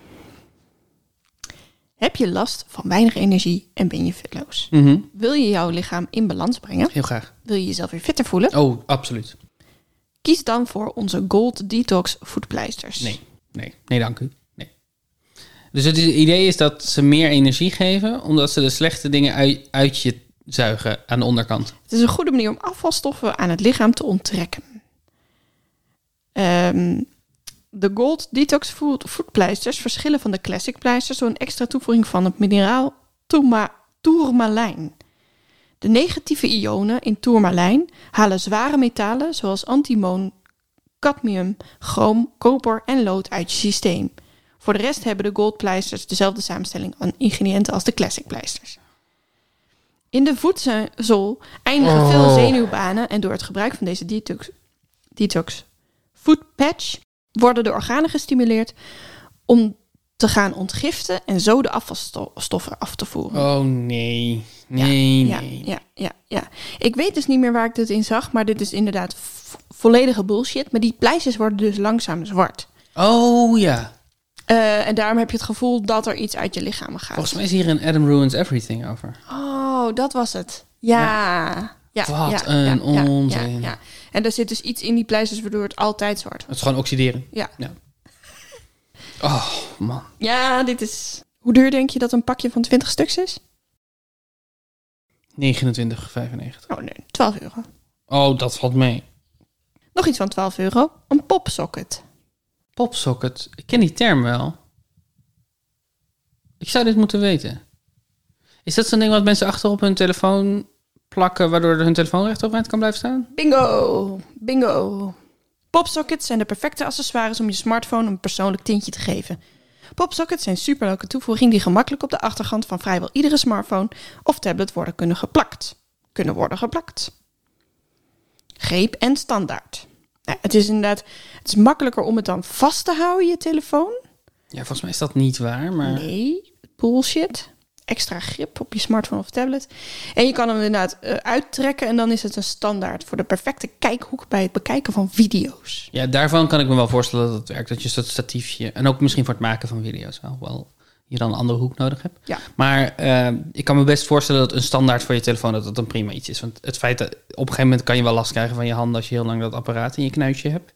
Speaker 2: Heb je last van weinig energie en ben je fitloos?
Speaker 1: Mhm,
Speaker 2: Wil je jouw lichaam in balans brengen?
Speaker 1: Heel graag.
Speaker 2: Wil je jezelf weer fitter voelen?
Speaker 1: Oh, absoluut.
Speaker 2: Kies dan voor onze Gold Detox voetpleisters.
Speaker 1: Nee, nee, nee, dank u. Nee. Dus het i- idee is dat ze meer energie geven omdat ze de slechte dingen uit, uit je zuigen aan de onderkant.
Speaker 2: Het is een goede manier om afvalstoffen aan het lichaam te onttrekken. Ehm, de Gold Detox Food, Foodpleisters verschillen van de Classic pleisters door een extra toevoeging van het mineraal tourma, tourmalijn. De negatieve ionen in tourmalijn halen zware metalen zoals antimoon, cadmium, chroom, koper en lood uit je systeem. Voor de rest hebben de Gold pleisters dezelfde samenstelling aan ingrediënten als de Classic pleisters. In de voedsel eindigen
Speaker 1: Oh.
Speaker 2: veel zenuwbanen en door het gebruik van deze detox, detox food patch worden de organen gestimuleerd om te gaan ontgiften en zo de afvalstoffen af te voeren.
Speaker 1: Oh nee. Nee,
Speaker 2: Ja,
Speaker 1: nee.
Speaker 2: ja, ja, ja. Ik weet dus niet meer waar ik dit in zag, maar dit is inderdaad vo- volledige bullshit. Maar die pleisters worden dus langzaam zwart.
Speaker 1: Oh ja.
Speaker 2: Eh, en daarom heb je het gevoel dat er iets uit je lichaam gaat.
Speaker 1: Volgens mij is hier een Adam Ruins Everything over.
Speaker 2: Oh, dat was het. Ja. ja.
Speaker 1: Wat
Speaker 2: ja,
Speaker 1: een
Speaker 2: ja, ja,
Speaker 1: onzin.
Speaker 2: ja, ja. En er zit dus iets in die pleisters waardoor het altijd zwart wordt.
Speaker 1: Het is gewoon oxideren.
Speaker 2: Ja.
Speaker 1: Ja. Oh man.
Speaker 2: Ja, dit is... Hoe duur denk je dat een pakje van 20 stuks is?
Speaker 1: 29,95.
Speaker 2: Oh nee, 12 euro.
Speaker 1: Oh, dat valt mee.
Speaker 2: Nog iets van 12 euro. Een popsocket.
Speaker 1: Popsocket. Ik ken die term wel. Ik zou dit moeten weten. Is dat zo'n ding wat mensen achter op hun telefoon plakken, waardoor hun telefoon rechtopeind kan blijven staan?
Speaker 2: Bingo! Bingo! Popsockets zijn de perfecte accessoires om je smartphone een persoonlijk tintje te geven. Popsockets zijn superleuke toevoeging die gemakkelijk op de achterkant van vrijwel iedere smartphone of tablet worden kunnen geplakt. Kunnen worden geplakt. Greep en standaard. Nou, het is inderdaad het is makkelijker om het dan vast te houden, je telefoon.
Speaker 1: Ja, volgens mij is dat niet waar, maar.
Speaker 2: Nee, bullshit. Extra grip op je smartphone of tablet. En je kan hem inderdaad eh, uittrekken en dan is het een standaard voor de perfecte kijkhoek bij het bekijken van video's.
Speaker 1: Ja, daarvan kan ik me wel voorstellen dat het werkt. Dat je dat statiefje, en ook misschien voor het maken van video's wel, wel je dan een andere hoek nodig hebt.
Speaker 2: Ja.
Speaker 1: Maar eh, ik kan me best voorstellen dat een standaard voor je telefoon dat dat een prima iets is. Want het feit dat op een gegeven moment kan je wel last krijgen van je handen als je heel lang dat apparaat in je knuitje hebt.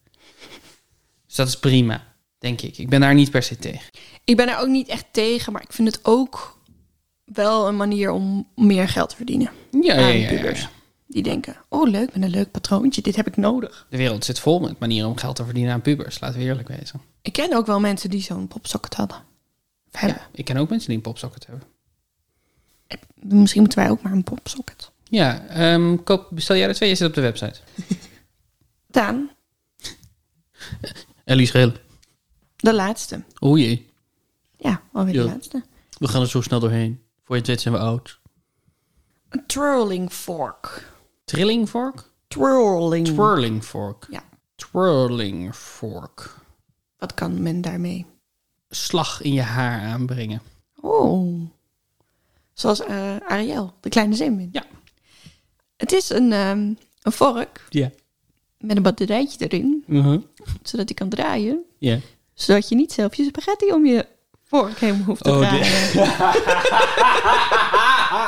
Speaker 1: Dus dat is prima, denk ik. Ik ben daar niet per se tegen.
Speaker 2: Ik ben er ook niet echt tegen, maar ik vind het ook wel een manier om meer geld te verdienen.
Speaker 1: Ja, ja,
Speaker 2: aan
Speaker 1: ja, ja,
Speaker 2: pubers.
Speaker 1: ja.
Speaker 2: Die denken, oh leuk, met een leuk patroontje, dit heb ik nodig.
Speaker 1: De wereld zit vol met manieren om geld te verdienen aan pubers. Laten we eerlijk wezen.
Speaker 2: Ik ken ook wel mensen die zo'n popsocket hadden. Of hebben.
Speaker 1: Ja, ik ken ook mensen die een popsocket hebben.
Speaker 2: Misschien moeten wij ook maar een popsocket.
Speaker 1: Ja, ehm, koop, bestel jij er twee? Je zit op de website.
Speaker 2: Daan,
Speaker 1: Ellie Scheel.
Speaker 2: de laatste.
Speaker 1: O jee.
Speaker 2: Ja, alweer de
Speaker 1: Ja.
Speaker 2: laatste.
Speaker 1: We gaan er zo snel doorheen. Voor je het weet zijn we oud.
Speaker 2: Een twirling fork.
Speaker 1: Trilling fork?
Speaker 2: Twirling.
Speaker 1: Twirling fork.
Speaker 2: Ja.
Speaker 1: Twirling fork.
Speaker 2: Wat kan men daarmee?
Speaker 1: Slag in je haar aanbrengen.
Speaker 2: Oh. Zoals eh, Ariel, de kleine zeemeermin.
Speaker 1: Ja.
Speaker 2: Het is een, ehm, een vork
Speaker 1: Ja.
Speaker 2: met een batterijtje erin,
Speaker 1: Mhm.
Speaker 2: zodat hij kan draaien.
Speaker 1: Ja.
Speaker 2: Zodat je niet zelf je spaghetti om je vork heen hoeft te
Speaker 1: Oh, de-
Speaker 2: draaien.
Speaker 1: <laughs>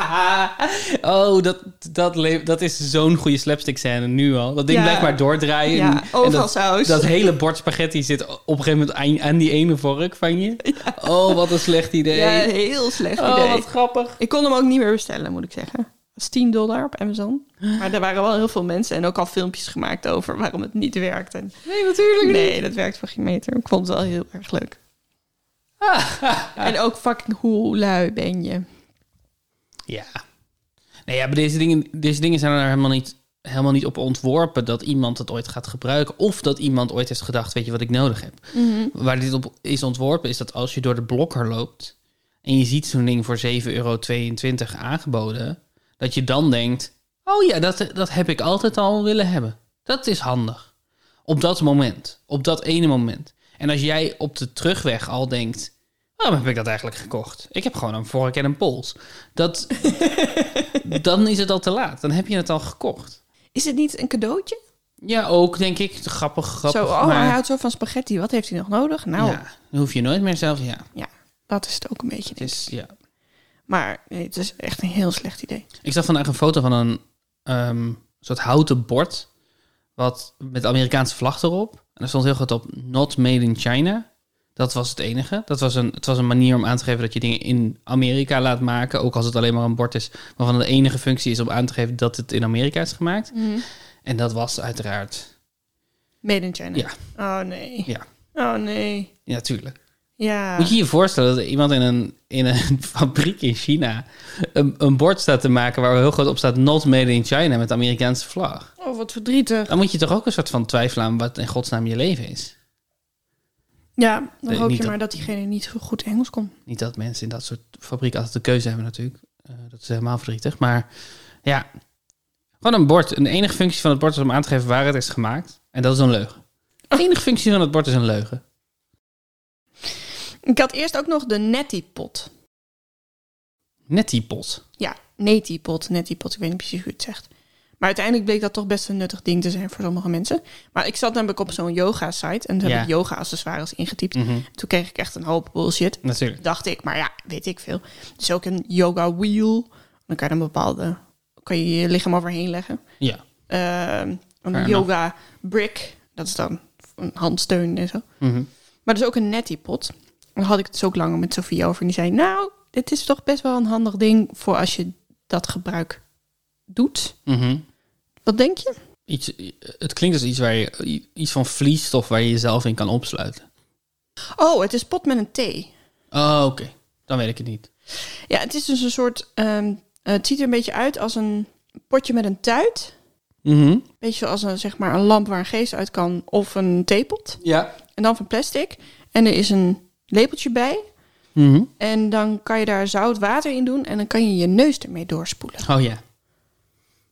Speaker 1: Oh, dat, dat, le- dat is zo'n goede slapstick scène nu al. Dat ding
Speaker 2: Ja.
Speaker 1: blijft maar doordraaien.
Speaker 2: Ja, Oh, overal
Speaker 1: dat,
Speaker 2: saus.
Speaker 1: Dat hele bord spaghetti zit op een gegeven moment aan, aan die ene vork van
Speaker 2: <laughs>
Speaker 1: je. Oh, wat een slecht idee.
Speaker 2: Ja, een heel slecht
Speaker 1: oh,
Speaker 2: <laughs> idee.
Speaker 1: wat grappig.
Speaker 2: Ik kon hem ook niet meer bestellen, moet ik zeggen. Dat is 10 dollar op Amazon. Maar er waren wel heel veel mensen en ook al filmpjes gemaakt over waarom het niet werkt. En
Speaker 1: Nee, natuurlijk
Speaker 2: nee, dat werkt voor geen meter. Ik vond het wel heel erg leuk. En ook fucking hoe lui ben je?
Speaker 1: Ja. Nee, ja, maar deze dingen, deze dingen zijn er nou helemaal niet, helemaal niet op ontworpen dat iemand het ooit gaat gebruiken. Of dat iemand ooit heeft gedacht, weet je wat ik nodig heb. Waar dit op is ontworpen is dat als je door de blokker loopt en je ziet zo'n ding voor 7,22 euro aangeboden, dat je dan denkt, oh ja, dat, dat heb ik altijd al willen hebben. Dat is handig. Op dat moment, op dat ene moment. En als jij op de terugweg al denkt, waarom heb ik dat eigenlijk gekocht? Ik heb gewoon een vork en een pols. Dat, dan is het al te laat. Dan heb je het al gekocht.
Speaker 2: Is het niet een cadeautje?
Speaker 1: Ja, ook denk ik. Grappig, grappig.
Speaker 2: zo, oh, hij
Speaker 1: maar,
Speaker 2: houdt zo van spaghetti. Wat heeft hij nog nodig? Nou, ja,
Speaker 1: ja, dan hoef je nooit meer zelf. Ja,
Speaker 2: dat is het ook een beetje.
Speaker 1: het is, ja.
Speaker 2: Maar nee, het is echt een heel slecht idee.
Speaker 1: Ik zag vandaag een foto van een ehm, soort houten bord. Wat, met de Amerikaanse vlag erop. En er stond heel groot op Not Made in China. Dat was het enige. Dat was een, het was een manier om aan te geven dat je dingen in Amerika laat maken. Ook als het alleen maar een bord is. Waarvan de enige functie is om aan te geven dat het in Amerika is gemaakt.
Speaker 2: Mhm.
Speaker 1: En dat was uiteraard.
Speaker 2: Made in China.
Speaker 1: Ja.
Speaker 2: Oh nee.
Speaker 1: Ja.
Speaker 2: Oh nee.
Speaker 1: Ja, tuurlijk.
Speaker 2: Ja.
Speaker 1: Moet je je voorstellen dat iemand in een, in een <laughs> fabriek in China een, een bord staat te maken waar heel groot op staat Not Made in China met de Amerikaanse vlag?
Speaker 2: Oh, wat verdrietig.
Speaker 1: Dan moet je toch ook een soort van twijfelen aan wat in godsnaam je leven is.
Speaker 2: Ja, dan
Speaker 1: Nee,
Speaker 2: hoop je
Speaker 1: niet dat-
Speaker 2: maar dat diegene niet zo goed Engels kon.
Speaker 1: Niet dat mensen in dat soort fabrieken altijd de keuze hebben natuurlijk. Eh, dat is helemaal verdrietig. Maar ja, gewoon een bord. En de enige functie van het bord is om aan te geven waar het is gemaakt. En dat is een leugen. De enige functie van het bord is een leugen.
Speaker 2: Ik had eerst ook nog de Netty-pot.
Speaker 1: Net die pot.
Speaker 2: Ja, Netty-pot, Netty-pot. Ik weet niet precies hoe je het zegt. Maar uiteindelijk bleek dat toch best een nuttig ding te zijn voor sommige mensen. Maar ik zat namelijk op zo'n yoga-site en toen
Speaker 1: Ja.
Speaker 2: heb ik yoga-accessoires ingetypt.
Speaker 1: Mhm,
Speaker 2: Toen kreeg ik echt een hoop bullshit.
Speaker 1: Natuurlijk.
Speaker 2: Dacht ik, maar ja, weet ik veel. Dus ook een yoga-wheel. Dan kan je een bepaalde... Kan je je lichaam overheen leggen.
Speaker 1: Ja.
Speaker 2: Eh, een
Speaker 1: enough.
Speaker 2: yoga-brick. Dat is dan een handsteun en zo.
Speaker 1: Mhm.
Speaker 2: Maar dus ook een netty pot. Daar had ik het dus ook langer met Sofia over. En die zei, nou, dit is toch best wel een handig ding voor als je dat gebruik doet.
Speaker 1: Mhm.
Speaker 2: Wat denk je?
Speaker 1: Iets, het klinkt als iets waar je iets van vliesstof waar je jezelf in kan opsluiten.
Speaker 2: Oh, het is pot met een thee.
Speaker 1: Oh, oké. Dan weet ik het niet.
Speaker 2: Ja, het is dus een soort... ehm, eh, het ziet er een beetje uit als een potje met een tuit.
Speaker 1: Mhm.
Speaker 2: Beetje zoals een, zeg maar, een lamp waar een geest uit kan. Of een theepot.
Speaker 1: Ja.
Speaker 2: En dan van plastic. En er is een lepeltje bij.
Speaker 1: Mhm.
Speaker 2: En dan kan je daar zout water in doen. En dan kan je je neus ermee doorspoelen.
Speaker 1: Oh ja.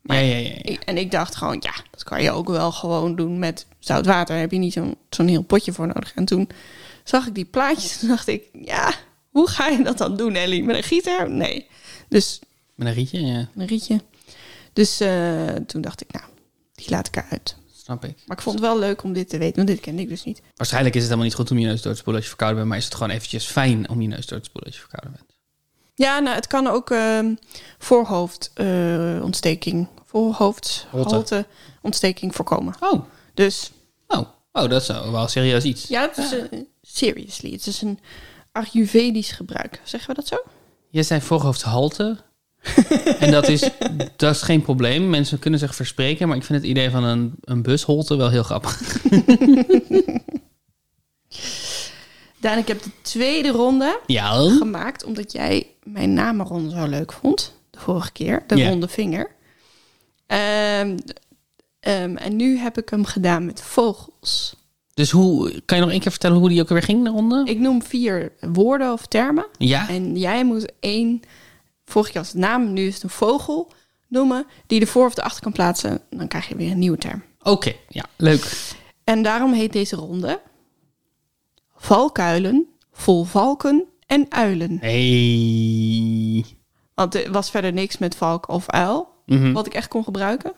Speaker 1: Ja, ja, ja. ja.
Speaker 2: Ik- En ik dacht gewoon, ja, dat kan je ook wel gewoon doen met zout water. Daar heb je niet zo'n zo'n heel potje voor nodig. En toen zag ik die plaatjes en dacht ik, ja, hoe ga je dat dan doen, Ellie? Met een gieter? Nee. Dus
Speaker 1: Met een rietje, ja.
Speaker 2: een rietje. Dus eh, toen dacht ik, nou, die laat ik eruit.
Speaker 1: Snap ik.
Speaker 2: Maar ik vond het wel leuk om dit te weten, want dit kende ik dus niet.
Speaker 1: Waarschijnlijk is het helemaal niet goed om je neus door te spoelen als je verkouden bent, maar is het gewoon eventjes fijn om je neus door te spoelen als je verkouden bent.
Speaker 2: Ja, nou, het kan ook ehm eh, voorhoofdontsteking,
Speaker 1: Holte.
Speaker 2: voorhoofdholte ontsteking voorkomen.
Speaker 1: Oh,
Speaker 2: Dus
Speaker 1: oh, oh, dat is wel serieus iets.
Speaker 2: Ja, het is een- Ah, seriously. Het is een Ayurvedisch gebruik. Zeggen we dat zo?
Speaker 1: Je zei voorhoofdhalte. <laughs> en dat is, dat is geen probleem. Mensen kunnen zich verspreken, maar ik vind het idee van een, een busholte wel heel grappig.
Speaker 2: Daan, ik heb de tweede ronde
Speaker 1: Ja,
Speaker 2: gemaakt omdat jij mijn namenronde zo leuk vond. De vorige keer, de
Speaker 1: Ja.
Speaker 2: ronde vinger. Ehm, ehm, en nu heb ik hem gedaan met vogels.
Speaker 1: dus hoe, kan je nog één keer vertellen hoe die ook weer ging, de ronde?
Speaker 2: Ik noem vier woorden of termen.
Speaker 1: Ja,
Speaker 2: En jij moet één, vorige keer was het naam, nu is het een vogel, noemen. Die je ervoor of erachter kan plaatsen. Dan krijg je weer een nieuwe term.
Speaker 1: oké, ja, leuk.
Speaker 2: En daarom heet deze ronde Valkuilen vol valken en uilen.
Speaker 1: Hey.
Speaker 2: Want er was verder niks met valk of uil, wat ik echt kon gebruiken.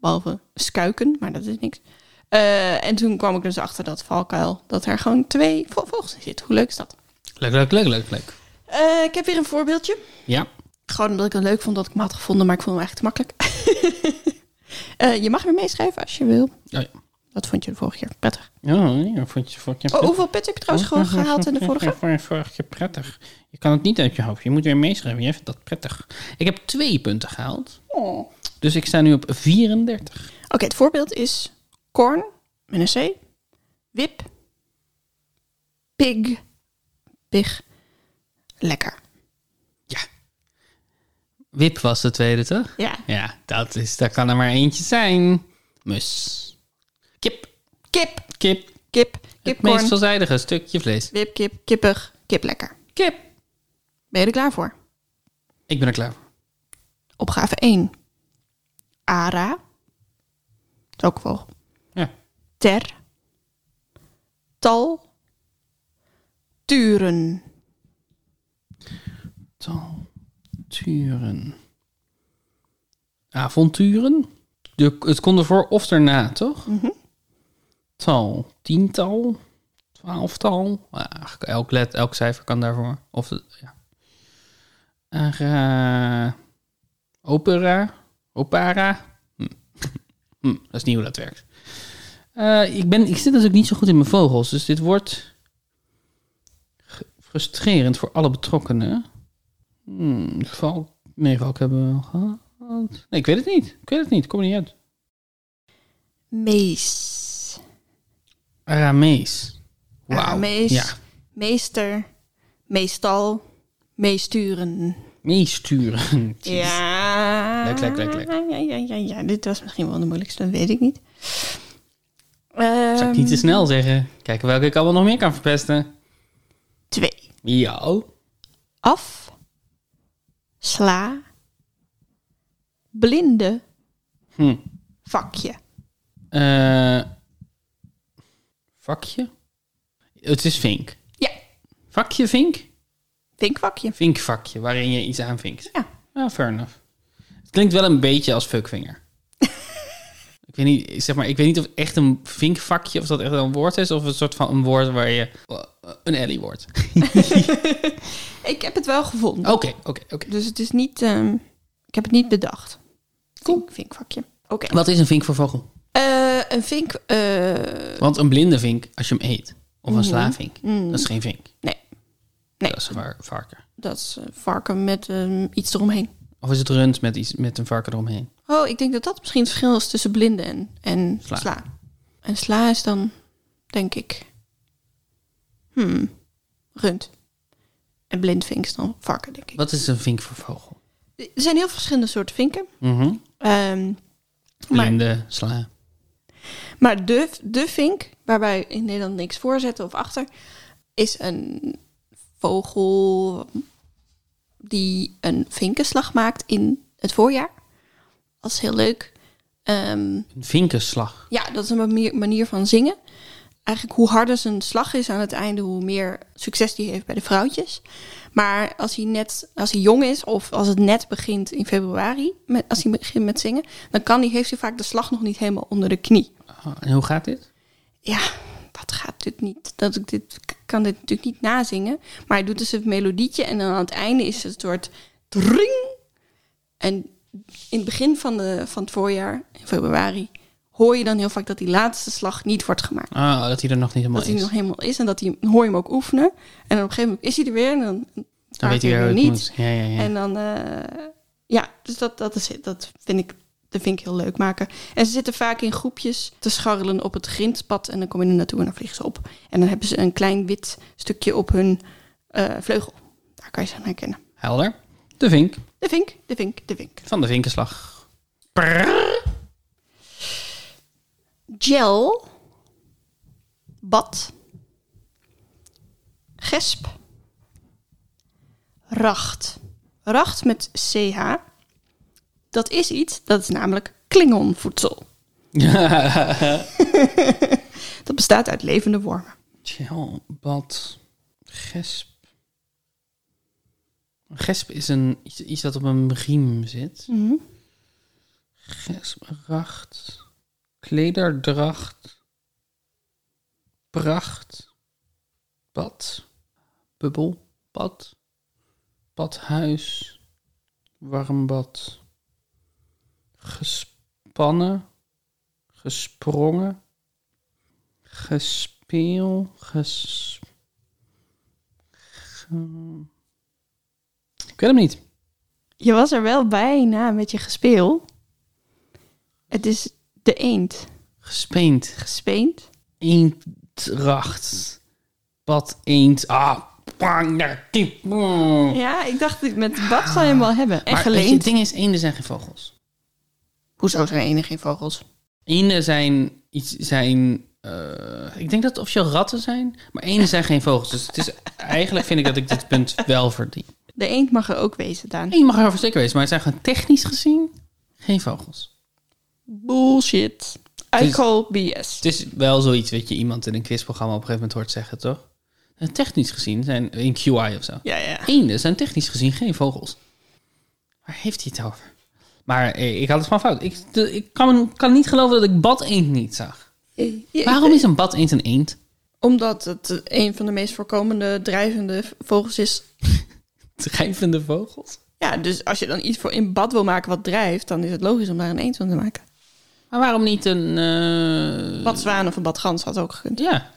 Speaker 2: Behalve skuiken, maar dat is niks. Eh, en toen kwam ik dus achter dat valkuil, dat er gewoon twee vo- vogels in zitten. Hoe leuk is dat?
Speaker 1: Leuk, leuk, leuk, leuk, leuk.
Speaker 2: Eh, ik heb weer een voorbeeldje.
Speaker 1: Ja,
Speaker 2: Gewoon omdat ik het leuk vond dat ik hem had gevonden, maar ik vond hem eigenlijk te makkelijk. <laughs> Eh, je mag weer meeschrijven als je wil.
Speaker 1: oh, ja.
Speaker 2: Dat vond je de vorige keer prettig.
Speaker 1: Oh, ja, vond je, vond je
Speaker 2: Oh, hoeveel pet heb je trouwens gewoon gehaald in
Speaker 1: <laughs>
Speaker 2: de vorige?
Speaker 1: Vorige, keer prettig. Je kan het niet uit je hoofd. Je moet weer meeschrijven. Jij vindt dat prettig. Ik heb twee punten gehaald.
Speaker 2: Oh.
Speaker 1: Dus ik sta nu op 34.
Speaker 2: Oké, het voorbeeld is corn met een C, wip, pig, pig, lekker.
Speaker 1: Wip was de tweede, toch?
Speaker 2: Ja.
Speaker 1: Ja, dat, is, dat kan er maar eentje zijn. Mus. Kip.
Speaker 2: Kip,
Speaker 1: Kip.
Speaker 2: kip,
Speaker 1: Het
Speaker 2: kipcorn,
Speaker 1: meest veelzijdige stukje vlees.
Speaker 2: wip, kip, kippig, kip lekker.
Speaker 1: Kip.
Speaker 2: Ben je er klaar voor?
Speaker 1: Ik ben er klaar voor.
Speaker 2: Opgave 1. Ara, dat is ook een vogel.
Speaker 1: Ja.
Speaker 2: Ter, tal, turen.
Speaker 1: Avonturen. Avonturen? De, het kon ervoor of erna, toch? Tal. Tiental. Twaalftal. Ja, eigenlijk elk, let, elk cijfer kan daarvoor. Of, de- ja. Ara- opera. Opera. Hm. <laughs> Hm, dat is niet hoe dat werkt. Eh, ik, ben, ik zit natuurlijk niet zo goed in mijn vogels, dus dit wordt ge- frustrerend voor alle betrokkenen. Hmm, Valk. Nee, Valk hebben we al gehad. Nee, ik weet het niet. Ik weet het niet. Ik Kom er niet uit.
Speaker 2: Mees,
Speaker 1: Aramees. Wauw.
Speaker 2: Aramees.
Speaker 1: Ja.
Speaker 2: meester, meestal, meesturen.
Speaker 1: Meesturen. <laughs> Jeez.
Speaker 2: Ja.
Speaker 1: Leuk, leuk, leuk, leuk.
Speaker 2: Ja, ja, ja, ja. Dit was misschien wel de moeilijkste, dat weet ik niet. Ehm,
Speaker 1: Zou ik niet te snel zeggen. Kijken welke ik allemaal nog meer kan verpesten.
Speaker 2: Twee.
Speaker 1: Ja.
Speaker 2: Af. sla, blinde,
Speaker 1: Hm.
Speaker 2: vakje.
Speaker 1: Eh, vakje? Het is vink.
Speaker 2: Ja,
Speaker 1: Vakje vink?
Speaker 2: vinkvakje.
Speaker 1: Vinkvakje, waarin je iets aanvinkt.
Speaker 2: Ja.
Speaker 1: Ja, fair enough. Het klinkt wel een beetje als fuckvinger. <laughs> ik, weet niet, zeg maar, ik weet niet of echt een vinkvakje, of dat echt een woord is, of een soort van een woord waar je eh, een ellie wordt. <laughs>
Speaker 2: Ik heb het wel gevonden.
Speaker 1: Oké, oké, oké.
Speaker 2: Dus het is niet... ehm, ik heb het niet bedacht.
Speaker 1: Cool.
Speaker 2: Vink- vinkvakje. Oké.
Speaker 1: Wat is een vink voor vogel?
Speaker 2: Eh, een vink... eh,
Speaker 1: Want een blinde vink, als je hem eet, of een slavink, dat is geen vink.
Speaker 2: nee, Nee.
Speaker 1: Dat is een var- varken.
Speaker 2: dat is eh, varken met ehm, iets eromheen.
Speaker 1: Of is het rund met, iets, met een varken eromheen?
Speaker 2: Oh, ik denk dat dat misschien het verschil is tussen blinde en, en
Speaker 1: Sla.
Speaker 2: sla. En sla is dan, denk ik, hmm, rund. En blind vink is dan varken, denk ik.
Speaker 1: Wat is een vink voor vogel?
Speaker 2: Er zijn heel verschillende soorten vinken.
Speaker 1: Mhm.
Speaker 2: Ehm, maar
Speaker 1: Blinde, sla.
Speaker 2: maar de, de vink, waarbij in Nederland niks voor zetten of achter, is een vogel die een vinkenslag maakt in het voorjaar. Dat is heel leuk. Ehm,
Speaker 1: Een vinkenslag.
Speaker 2: Ja, dat is een manier- manier van zingen. Eigenlijk hoe harder zijn slag is aan het einde, hoe meer succes die heeft bij de vrouwtjes. Maar als hij, net, als hij jong is of als het net begint in februari, met, als hij begint met zingen, dan kan hij, heeft hij vaak de slag nog niet helemaal onder de knie.
Speaker 1: Oh, en hoe gaat dit?
Speaker 2: Ja, dat gaat natuurlijk niet. Dat ik dit ik kan dit natuurlijk niet nazingen. Maar hij doet dus het melodietje en dan aan het einde is het een soort dring. En in het begin van, de, van het voorjaar, in februari, hoor je dan heel vaak dat die laatste slag niet wordt gemaakt.
Speaker 1: Ah, dat hij er nog niet helemaal
Speaker 2: Dat hij
Speaker 1: is.
Speaker 2: nog helemaal is en dat hij, dan hoor je hem ook oefenen. En dan op een gegeven moment is hij er weer en dan,
Speaker 1: Dan weet Ah, hij
Speaker 2: weer
Speaker 1: weer hoe het
Speaker 2: niet.
Speaker 1: moet. Ja, ja, ja.
Speaker 2: En dan, eh, ja, dus dat, dat, is, het. dat vind ik dat vind ik heel leuk maken. En ze zitten vaak in groepjes te scharrelen op het grindpad. En dan kom je er naartoe en dan vliegen ze op. En dan hebben ze een klein wit stukje op hun eh, vleugel. Daar kan je ze aan herkennen.
Speaker 1: Helder. De vink.
Speaker 2: De vink, de vink, de vink.
Speaker 1: Van de vinkenslag.
Speaker 2: Gel. Bad. Gesp. Racht. Racht met CH. Dat is iets, dat is namelijk klingonvoedsel. Dat bestaat uit levende wormen.
Speaker 1: Chill, bad, gesp. Een gesp is een, iets, iets dat op een riem zit.
Speaker 2: Mhm.
Speaker 1: Gesp, racht, klederdracht, pracht, bad, bubbel, bad, badhuis, warm bad, gespannen, gesprongen, gespeel, ges... ge- Ik weet hem niet.
Speaker 2: Je was er wel bijna met je gespeel. Het is de eend.
Speaker 1: Gespeend.
Speaker 2: Gespeend.
Speaker 1: Eendracht. Bad eend. Ah, bang, daar, diep. Mm.
Speaker 2: Ja, ik dacht, met bad zal je hem wel hebben. En
Speaker 1: Maar weet je, het
Speaker 2: geleend.
Speaker 1: ding is, eenden zijn geen vogels.
Speaker 2: Hoezo zijn eenden geen vogels?
Speaker 1: Eenden zijn iets, zijn... eh, ik denk dat het officieel ratten zijn, maar eenden zijn geen vogels. Dus het is, eigenlijk vind ik dat ik dit punt wel verdien.
Speaker 2: De eend mag er ook wezen, Daan.
Speaker 1: Eén mag erover zeker wezen, maar het zijn gewoon technisch gezien geen vogels.
Speaker 2: Bullshit. I
Speaker 1: Dus-
Speaker 2: call BS.
Speaker 1: Het is wel zoiets wat je iemand in een quizprogramma op een gegeven moment hoort zeggen, toch? En technisch gezien zijn in QI of zo.
Speaker 2: Ja, ja.
Speaker 1: Eenden zijn technisch gezien geen vogels. Waar heeft hij het over? Maar eh, ik had het van fout. Ik, de- ik kan, kan niet geloven dat ik bad eend niet zag. Waarom is een bad eend een eend?
Speaker 2: Omdat het een van de meest voorkomende drijvende vogels is.
Speaker 1: Drijvende vogels?
Speaker 2: Ja, dus als je dan iets voor in bad wil maken wat drijft, dan is het logisch om daar een eend van te maken.
Speaker 1: Maar waarom niet een... eh,
Speaker 2: Badzwaan of een badgans had ook gekund.
Speaker 1: Ja,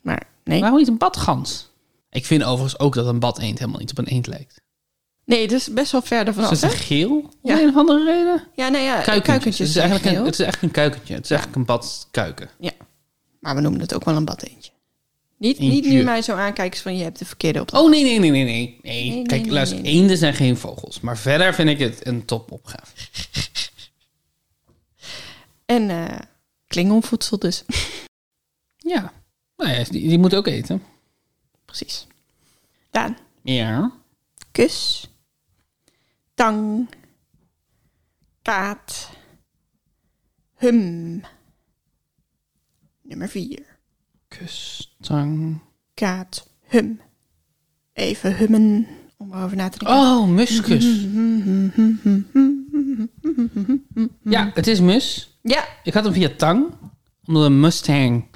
Speaker 2: Maar nee.
Speaker 1: waarom niet een badgans? Ik vind overigens ook dat een bad eend helemaal niet op een eend lijkt.
Speaker 2: Nee, dus best wel verder
Speaker 1: Is
Speaker 2: vanaf.
Speaker 1: het
Speaker 2: hè?
Speaker 1: een geel?
Speaker 2: Ja.
Speaker 1: Om een of andere reden?
Speaker 2: Ja, nou ja, kuikentjes.
Speaker 1: Kuikentjes. het, is
Speaker 2: zijn
Speaker 1: eigenlijk een,
Speaker 2: geel.
Speaker 1: het is eigenlijk een kuikentje. Het is eigenlijk een badkuiken.
Speaker 2: Ja, maar we noemen het ook wel een badeentje. Niet, niet
Speaker 1: Eentje.
Speaker 2: nu mij zo aankijken van je hebt de verkeerde op.
Speaker 1: Oh, nee, nee, nee, nee, nee. nee.
Speaker 2: nee,
Speaker 1: Kijk,
Speaker 2: nee,
Speaker 1: luister,
Speaker 2: nee,
Speaker 1: eenden zijn geen vogels. Maar verder vind ik het een topopgave.
Speaker 2: En eh klingonvoedsel <laughs> dus.
Speaker 1: Ja. Nou ja, die, die moet ook eten.
Speaker 2: Precies. Daan,
Speaker 1: Ja.
Speaker 2: kus. Tang. Kaat. Hum. Nummer 4.
Speaker 1: Kus, tang.
Speaker 2: Kaat. Hum. Even hummen om erover na te denken.
Speaker 1: Oh, muskus. Ja, het is mus.
Speaker 2: Ja,
Speaker 1: Ik had hem via tang. Omdat een Mustang...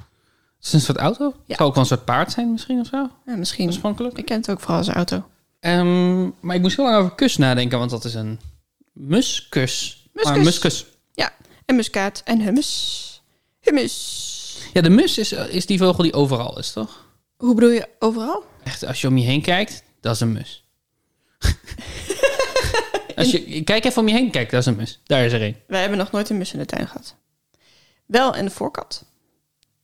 Speaker 1: Het is een soort auto. Het
Speaker 2: Ja.
Speaker 1: zou ook wel een soort paard zijn misschien of zo.
Speaker 2: ja, misschien.
Speaker 1: Oorspronkelijk.
Speaker 2: Ik ken het ook vooral als auto.
Speaker 1: Ehm, maar ik moest heel lang over kus nadenken, want dat is een muskus.
Speaker 2: Muskus.
Speaker 1: Maar muskus.
Speaker 2: Ja, en muskaat en hummus. Hummus.
Speaker 1: Ja, de mus is, is die vogel die overal is, toch?
Speaker 2: Hoe bedoel je overal?
Speaker 1: Echt, als je om je heen kijkt, dat is een
Speaker 2: <laughs>
Speaker 1: mus. als je, kijk even om je heen, kijk, dat is een mus. Daar is er een.
Speaker 2: Wij hebben nog nooit een mus in de tuin gehad. Wel en de voorkant.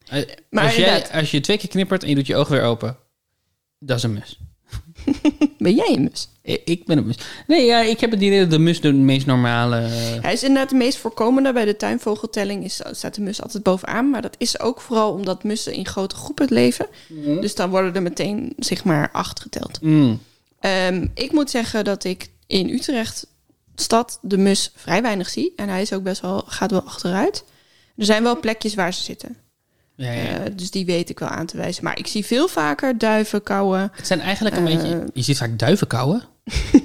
Speaker 1: Eh,
Speaker 2: Maar
Speaker 1: als, jij,
Speaker 2: inderdaad.
Speaker 1: als je twee keer knippert en je doet je oog weer open, dat is een mus.
Speaker 2: Ben jij een mus?
Speaker 1: I- Ik ben een mus. Nee, ja, ik heb het idee dat de mus de meest normale... eh,
Speaker 2: Hij is inderdaad de meest voorkomende. Bij de tuinvogeltelling is, staat de mus altijd bovenaan. Maar dat is ook vooral omdat mussen in grote groepen leven. Dus dan worden er meteen zeg maar acht geteld.
Speaker 1: Mm.
Speaker 2: Ehm, ik moet zeggen dat ik in Utrecht stad de mus vrij weinig zie. En hij is ook best wel, gaat wel achteruit. Er zijn wel plekjes waar ze zitten.
Speaker 1: Ja, ja.
Speaker 2: Eh, dus die weet ik wel aan te wijzen. Maar ik zie veel vaker duiven, kauwen.
Speaker 1: Het zijn eigenlijk een
Speaker 2: Eh.
Speaker 1: beetje... Je ziet vaak duiven kauwen.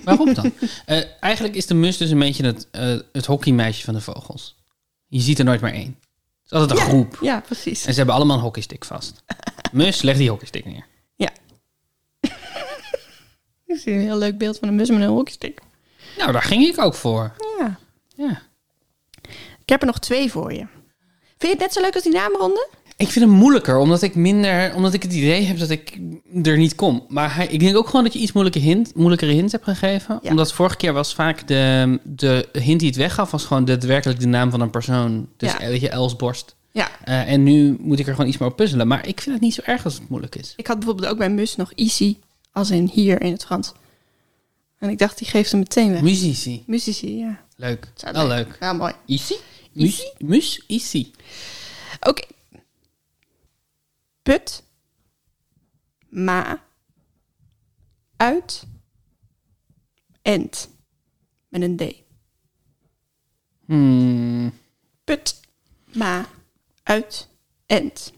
Speaker 1: Waarom
Speaker 2: <laughs>
Speaker 1: dan? Eh, eigenlijk is de mus dus een beetje het, eh, het hockeymeisje van de vogels. Je ziet er nooit maar één. Het is altijd een
Speaker 2: Ja,
Speaker 1: groep.
Speaker 2: Ja, precies.
Speaker 1: En ze hebben allemaal een hockeystick
Speaker 2: <laughs>
Speaker 1: vast. Mus, leg die hockeystick neer.
Speaker 2: Ja. ik zie een heel leuk beeld van een mus met een hockeystick.
Speaker 1: Nou, daar ging ik ook voor.
Speaker 2: Ja.
Speaker 1: Ja.
Speaker 2: Ik heb er nog twee voor je. Vind je het net zo leuk als die naamronde?
Speaker 1: Ik vind hem moeilijker, omdat ik minder, omdat ik het idee heb dat ik er niet kom. Maar hij, ik denk ook gewoon dat je iets moeilijke hint, moeilijkere hints hebt gegeven.
Speaker 2: Ja.
Speaker 1: Omdat vorige keer was vaak de, de hint die het weggaf, was gewoon daadwerkelijk de naam van een persoon. Dus
Speaker 2: Ja.
Speaker 1: eh, weet je, Elsborst.
Speaker 2: Ja.
Speaker 1: Eh, en nu moet ik er gewoon iets meer op puzzelen. Maar ik vind het niet zo erg als het moeilijk is.
Speaker 2: Ik had bijvoorbeeld ook bij mus nog easy, als in hier in het Frans. En ik dacht, die geeft hem meteen weg.
Speaker 1: Muzici.
Speaker 2: Musici, ja.
Speaker 1: Leuk.
Speaker 2: Zou
Speaker 1: Wel
Speaker 2: het
Speaker 1: leuk.
Speaker 2: Ja, mooi.
Speaker 1: Isi?
Speaker 2: Isi?
Speaker 1: Mus, mus, isi.
Speaker 2: Oké. Put. Ma. Uit. End. Met een D.
Speaker 1: Hmm.
Speaker 2: Put. Ma. Uit. End.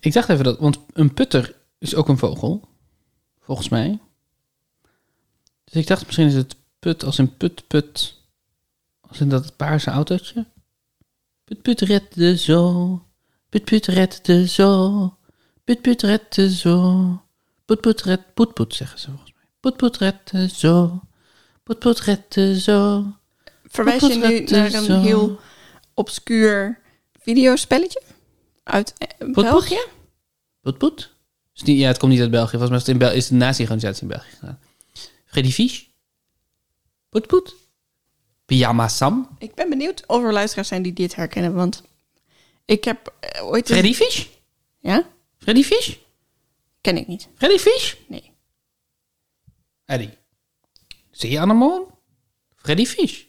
Speaker 1: Ik dacht even dat, want een putter is ook een vogel, volgens mij. Dus ik dacht misschien is het put als in put put, als in dat paarse autootje. Put put red de zo, put put red de zo, put put red de zo, put put red put put zeggen ze volgens mij. Put put red de zo, put put red de zo.
Speaker 2: Verwijs
Speaker 1: Put,
Speaker 2: je
Speaker 1: put,
Speaker 2: nu
Speaker 1: red,
Speaker 2: naar
Speaker 1: de
Speaker 2: een
Speaker 1: dus zo.
Speaker 2: heel obscuur videospelletje? Uit eh,
Speaker 1: put.
Speaker 2: België?
Speaker 1: Put put? Is die, ja, het komt niet uit België. Volgens mij is het, in Bel is de nazi-organisatie in België gedaan. Freddy Fisch? Put put? Pyjama Sam?
Speaker 2: Ik ben benieuwd of er luisteraars zijn die dit herkennen, want ik heb eh, ooit... eens-
Speaker 1: Freddy Fisch?
Speaker 2: Ja?
Speaker 1: Freddy Fisch?
Speaker 2: Ken ik niet.
Speaker 1: Freddy Fisch?
Speaker 2: Nee.
Speaker 1: Eddie. Zie je Annemoon? Freddy Fisch?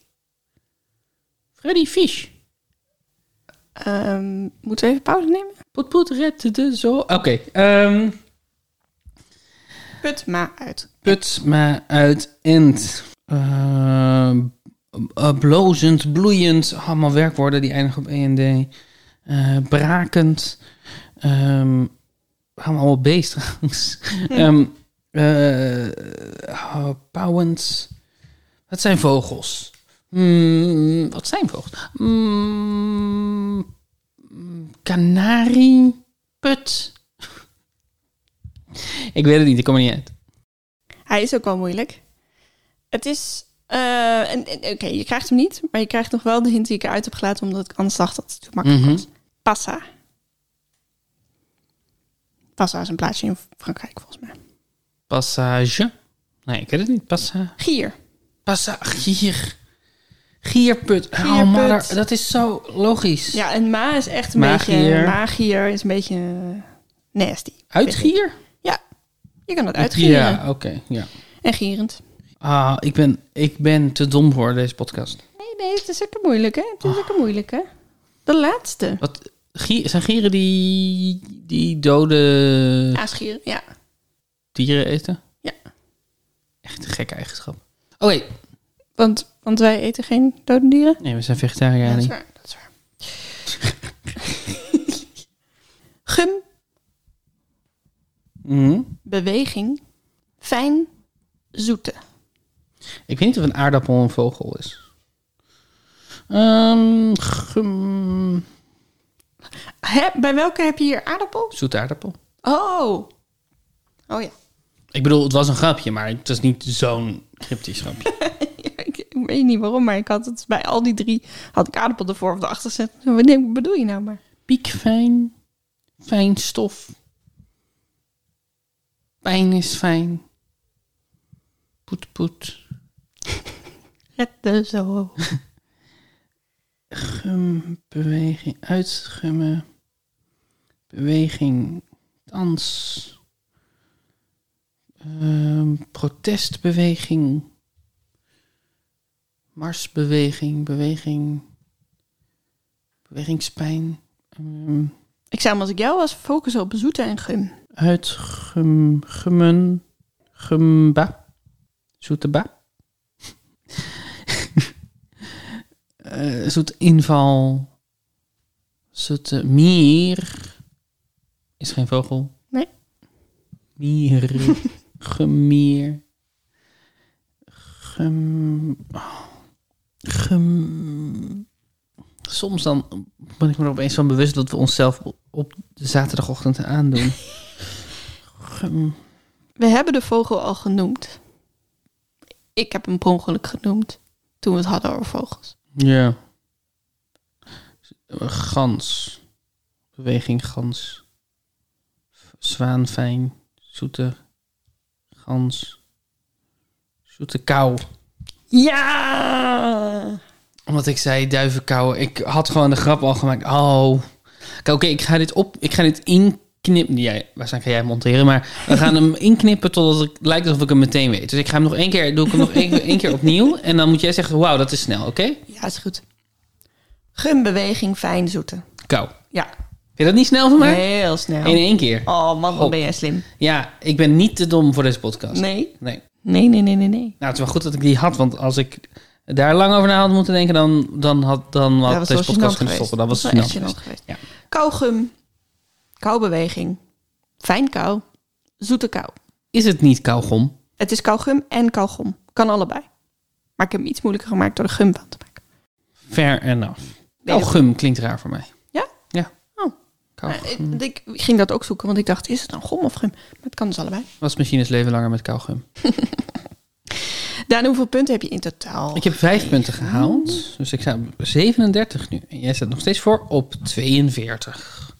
Speaker 1: Freddy Fisch?
Speaker 2: Ehm, moeten we even pauze nemen?
Speaker 1: Put put red de zo... Oké, ehm,
Speaker 2: Put ma uit.
Speaker 1: put me uit end. Ehm, eh, blozend, bloeiend. Allemaal werkwoorden die eindigen op END. Eh, brakend. Ehm allemaal beest trouwens. Ehm eh, eh, pauwend. Wat zijn vogels? Hmm, wat zijn vogels? Hmm, kanarie. Put. <laughs> Ik weet het niet, ik kom er niet uit.
Speaker 2: Hij is ook wel moeilijk. Het is... eh, en- en- Oké, je krijgt hem niet, maar je krijgt nog wel de hint die ik eruit heb gelaten, omdat ik anders dacht dat het te makkelijk
Speaker 1: Mhm.
Speaker 2: was. Passa. Passa is een plaatsje in Frankrijk, volgens mij.
Speaker 1: Passage. Nee, ik weet het niet. Passa.
Speaker 2: Gier.
Speaker 1: Passa. Gier. Gierput. Oh,
Speaker 2: Gierput.
Speaker 1: maar daar- dat is zo logisch.
Speaker 2: Ja, en ma is echt een
Speaker 1: Magier.
Speaker 2: beetje... Magier is een beetje eh, nasty.
Speaker 1: Uitgier?
Speaker 2: Ja, je kan het uitgieren.
Speaker 1: Ja, oké. ja.
Speaker 2: En gierend.
Speaker 1: Ah, ik ben, ik ben te dom voor deze podcast.
Speaker 2: Nee, nee, het is ook moeilijk, hè? Het is ook moeilijk, hè? De laatste.
Speaker 1: Wat, gier, zijn gieren die, die dode
Speaker 2: Aasgier, ja.
Speaker 1: dieren eten?
Speaker 2: Ja.
Speaker 1: Echt een gekke eigenschap. Oké,
Speaker 2: Want, want wij eten geen dode dieren.
Speaker 1: Nee, we zijn vegetariër.
Speaker 2: dat is
Speaker 1: Ellie.
Speaker 2: waar. Dat is waar. <laughs> Gum,
Speaker 1: Mhm.
Speaker 2: beweging, fijn, zoete.
Speaker 1: Ik weet niet of een aardappel een vogel is. Ehm gum,
Speaker 2: Hè, bij welke heb je hier aardappel?
Speaker 1: zoete aardappel.
Speaker 2: Oh. Oh ja.
Speaker 1: Ik bedoel, het was een grapje, maar het was niet zo'n cryptisch <laughs> grapje.
Speaker 2: ik, ik weet niet waarom, maar ik had het bij al die drie had ik aardappel ervoor of erachter gezet. Wat nee, bedoel je nou maar?
Speaker 1: Piekfijn, fijn stof. Pijn is fijn. Poet, poet.
Speaker 2: Het de zo.
Speaker 1: Gum, beweging, uitgummen. Beweging, dans. Ehm, protestbeweging. Marsbeweging, beweging. Bewegingspijn. Ehm,
Speaker 2: Ik zou hem als ik jou was focussen op zoete en gum.
Speaker 1: uit gum, gummen, gumba, zoete ba. <laughs> Eh, zoet inval, zoete mier, is geen vogel.
Speaker 2: Nee.
Speaker 1: Mier, gemier, gum, oh, gum. Soms dan ben ik me er opeens van bewust dat we onszelf op de zaterdagochtend aandoen. Gum.
Speaker 2: We hebben de vogel al genoemd. Ik heb hem per ongeluk genoemd toen we het hadden over vogels.
Speaker 1: Ja. Gans. Beweging gans. Zwaanfijn. Zoete gans. Zoete kou.
Speaker 2: Ja!
Speaker 1: Omdat ik zei duivenkou. Ik had gewoon de grap al gemaakt. Oh. Kijk, Oké, ik ga dit op. Ik ga dit inknippen. Jij, waarschijnlijk ga jij monteren. Maar we gaan hem inknippen totdat het lijkt alsof ik hem meteen weet. Dus ik ga hem nog één keer. Doe ik hem nog één, keer- één keer opnieuw. En dan moet jij zeggen: Wauw, dat is snel. Oké?
Speaker 2: Ja, is goed. Gumbeweging, fijn, zoete.
Speaker 1: Kou.
Speaker 2: Ja,
Speaker 1: Vind je dat niet snel van mij?
Speaker 2: heel snel.
Speaker 1: In één keer.
Speaker 2: Oh man, wat
Speaker 1: Goh.
Speaker 2: ben jij slim.
Speaker 1: Ja, ik ben niet te dom voor deze podcast.
Speaker 2: Nee?
Speaker 1: Nee.
Speaker 2: Nee, nee, nee, nee, nee.
Speaker 1: Nou, het is wel goed dat ik die had, want als ik daar lang over na had moeten denken, dan, dan had, dan had
Speaker 2: Ja, dat
Speaker 1: deze
Speaker 2: was wel
Speaker 1: podcast
Speaker 2: gênant
Speaker 1: kunnen
Speaker 2: geweest.
Speaker 1: stoppen. Dat was
Speaker 2: wel echt
Speaker 1: gênant
Speaker 2: gênant
Speaker 1: geweest.
Speaker 2: geweest.
Speaker 1: Ja.
Speaker 2: Kauwgum, kauwbeweging, fijn kou, zoete kou.
Speaker 1: Is het niet kauwgom?
Speaker 2: Het is kauwgum en kauwgom. Kan allebei. Maar ik heb hem iets moeilijker gemaakt door de gum van te maken.
Speaker 1: Fair enough.
Speaker 2: Nee,
Speaker 1: Kauwgum klinkt raar voor mij.
Speaker 2: Ja?
Speaker 1: Ja.
Speaker 2: Oh. Maar
Speaker 1: Kauwgum.
Speaker 2: ik, ik ging dat ook zoeken, want ik dacht, is het dan gom of gum? Maar het kan dus allebei.
Speaker 1: Was machines leven langer met kauwgum?
Speaker 2: Daan, hoeveel punten heb je in totaal?
Speaker 1: Ik heb vijf punten gehaald, dus ik sta op 37 nu. En jij staat nog steeds voor op 42.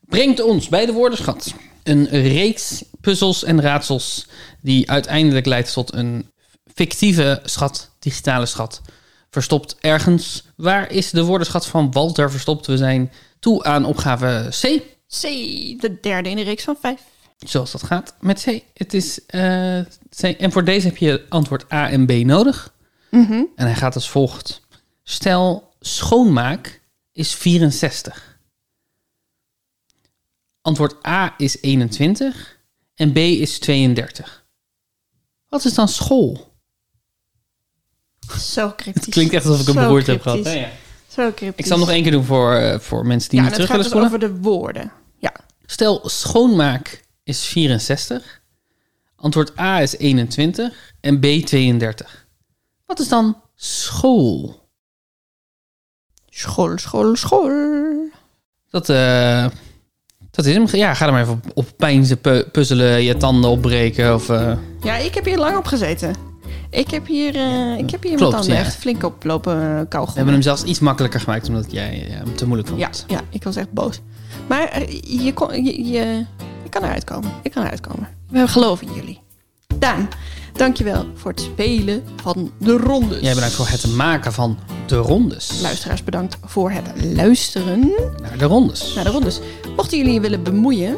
Speaker 1: Brengt ons bij de woordenschat een reeks puzzels en raadsels die uiteindelijk leidt tot een fictieve schat, digitale schat. Verstopt ergens. Waar is de woordenschat van Walter verstopt? We zijn toe aan opgave C,
Speaker 2: C, de derde in de reeks van vijf.
Speaker 1: zoals dat gaat met C. Het is eh, C. En voor deze heb je antwoord A en B nodig.
Speaker 2: Mhm.
Speaker 1: En hij gaat als volgt. Stel, schoonmaak is 64. Antwoord A is 21 en B is 32. Wat is dan school?
Speaker 2: Zo cryptisch.
Speaker 1: Het klinkt echt alsof ik hem
Speaker 2: Zo
Speaker 1: beroerd heb gehad.
Speaker 2: cryptisch. Zo cryptisch.
Speaker 1: Ik zal hem nog één keer doen voor, eh, voor mensen die
Speaker 2: Ja,
Speaker 1: niet
Speaker 2: en het
Speaker 1: terug
Speaker 2: gaat
Speaker 1: willen
Speaker 2: dus
Speaker 1: spoelen.
Speaker 2: over de woorden. Ja.
Speaker 1: Stel, schoonmaak is 64. Antwoord A is 21 en B 32. Wat is dan school?
Speaker 2: School, school, school.
Speaker 1: Dat, eh, dat is hem. Ja, ga er maar even op, op pijnzen, pu- puzzelen, je tanden opbreken. Of, eh,
Speaker 2: Ja, ik heb hier lang op gezeten. Ik heb hier, eh, ik heb hier
Speaker 1: Klopt,
Speaker 2: mijn tanden
Speaker 1: ja.
Speaker 2: echt flink op lopen eh,
Speaker 1: we
Speaker 2: kauwgom.
Speaker 1: hebben hem zelfs iets makkelijker gemaakt, omdat jij eh, hem te moeilijk vond.
Speaker 2: Ja, ja, ik was echt boos. Maar eh, je, kon, je, je, je kan eruit komen. Ik kan eruit komen. We geloven in jullie. Daan, dankjewel voor het spelen van de rondes.
Speaker 1: Jij bedankt voor het maken van de rondes.
Speaker 2: Luisteraars, bedankt voor het luisteren
Speaker 1: Naar de rondes.
Speaker 2: naar de rondes. Mochten jullie je willen <laughs> bemoeien...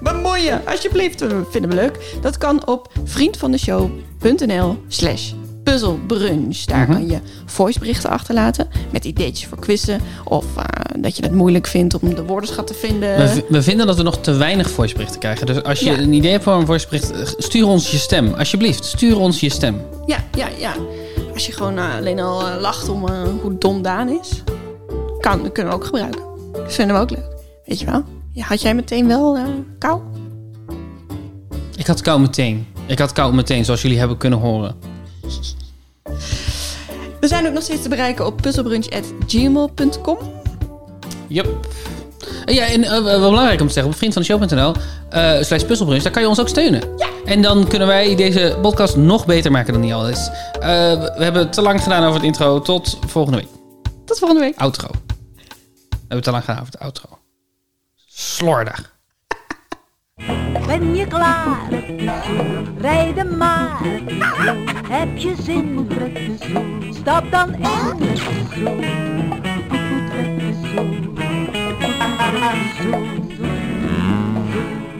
Speaker 2: bemoeien, alsjeblieft. We vinden we leuk. Dat kan op vriendvandeshow.nl slash puzzelbrunch. Daar
Speaker 1: Mhm.
Speaker 2: kan je voiceberichten achterlaten met ideetjes voor quizzen. Of eh, dat je het moeilijk vindt om de woordenschat te vinden.
Speaker 1: We, v- we vinden dat we nog te weinig voiceberichten krijgen. Dus als je
Speaker 2: Ja.
Speaker 1: een idee hebt voor een voicebericht, eh, stuur ons je stem. Alsjeblieft, stuur ons je stem.
Speaker 2: Ja, ja, ja. Als je gewoon eh, alleen al eh, lacht om eh, hoe dom Daan is, kan, kunnen we ook gebruiken. Dat vinden we ook leuk. Weet je wel? Ja, had jij meteen wel eh, kou?
Speaker 1: Ik had kou meteen. Ik had kou meteen, zoals jullie hebben kunnen horen.
Speaker 2: We zijn ook nog steeds te bereiken op puzzelbrunch.gmail.com.
Speaker 1: Yep. Eh, Ja, en eh, wel belangrijk om te zeggen, op vriendvandeshow.nl eh slash puzzelbrunch, daar kan je ons ook steunen. En dan kunnen wij deze podcast nog beter maken dan die al is. Eh, we we hebben te lang gedaan over het intro. Tot volgende week.
Speaker 2: Tot volgende week.
Speaker 1: Outro. We hebben te lang gedaan over het outro. Slordig.
Speaker 3: Ben je klaar? Rijden maar. Heb je zin? Stap dan in. Zo.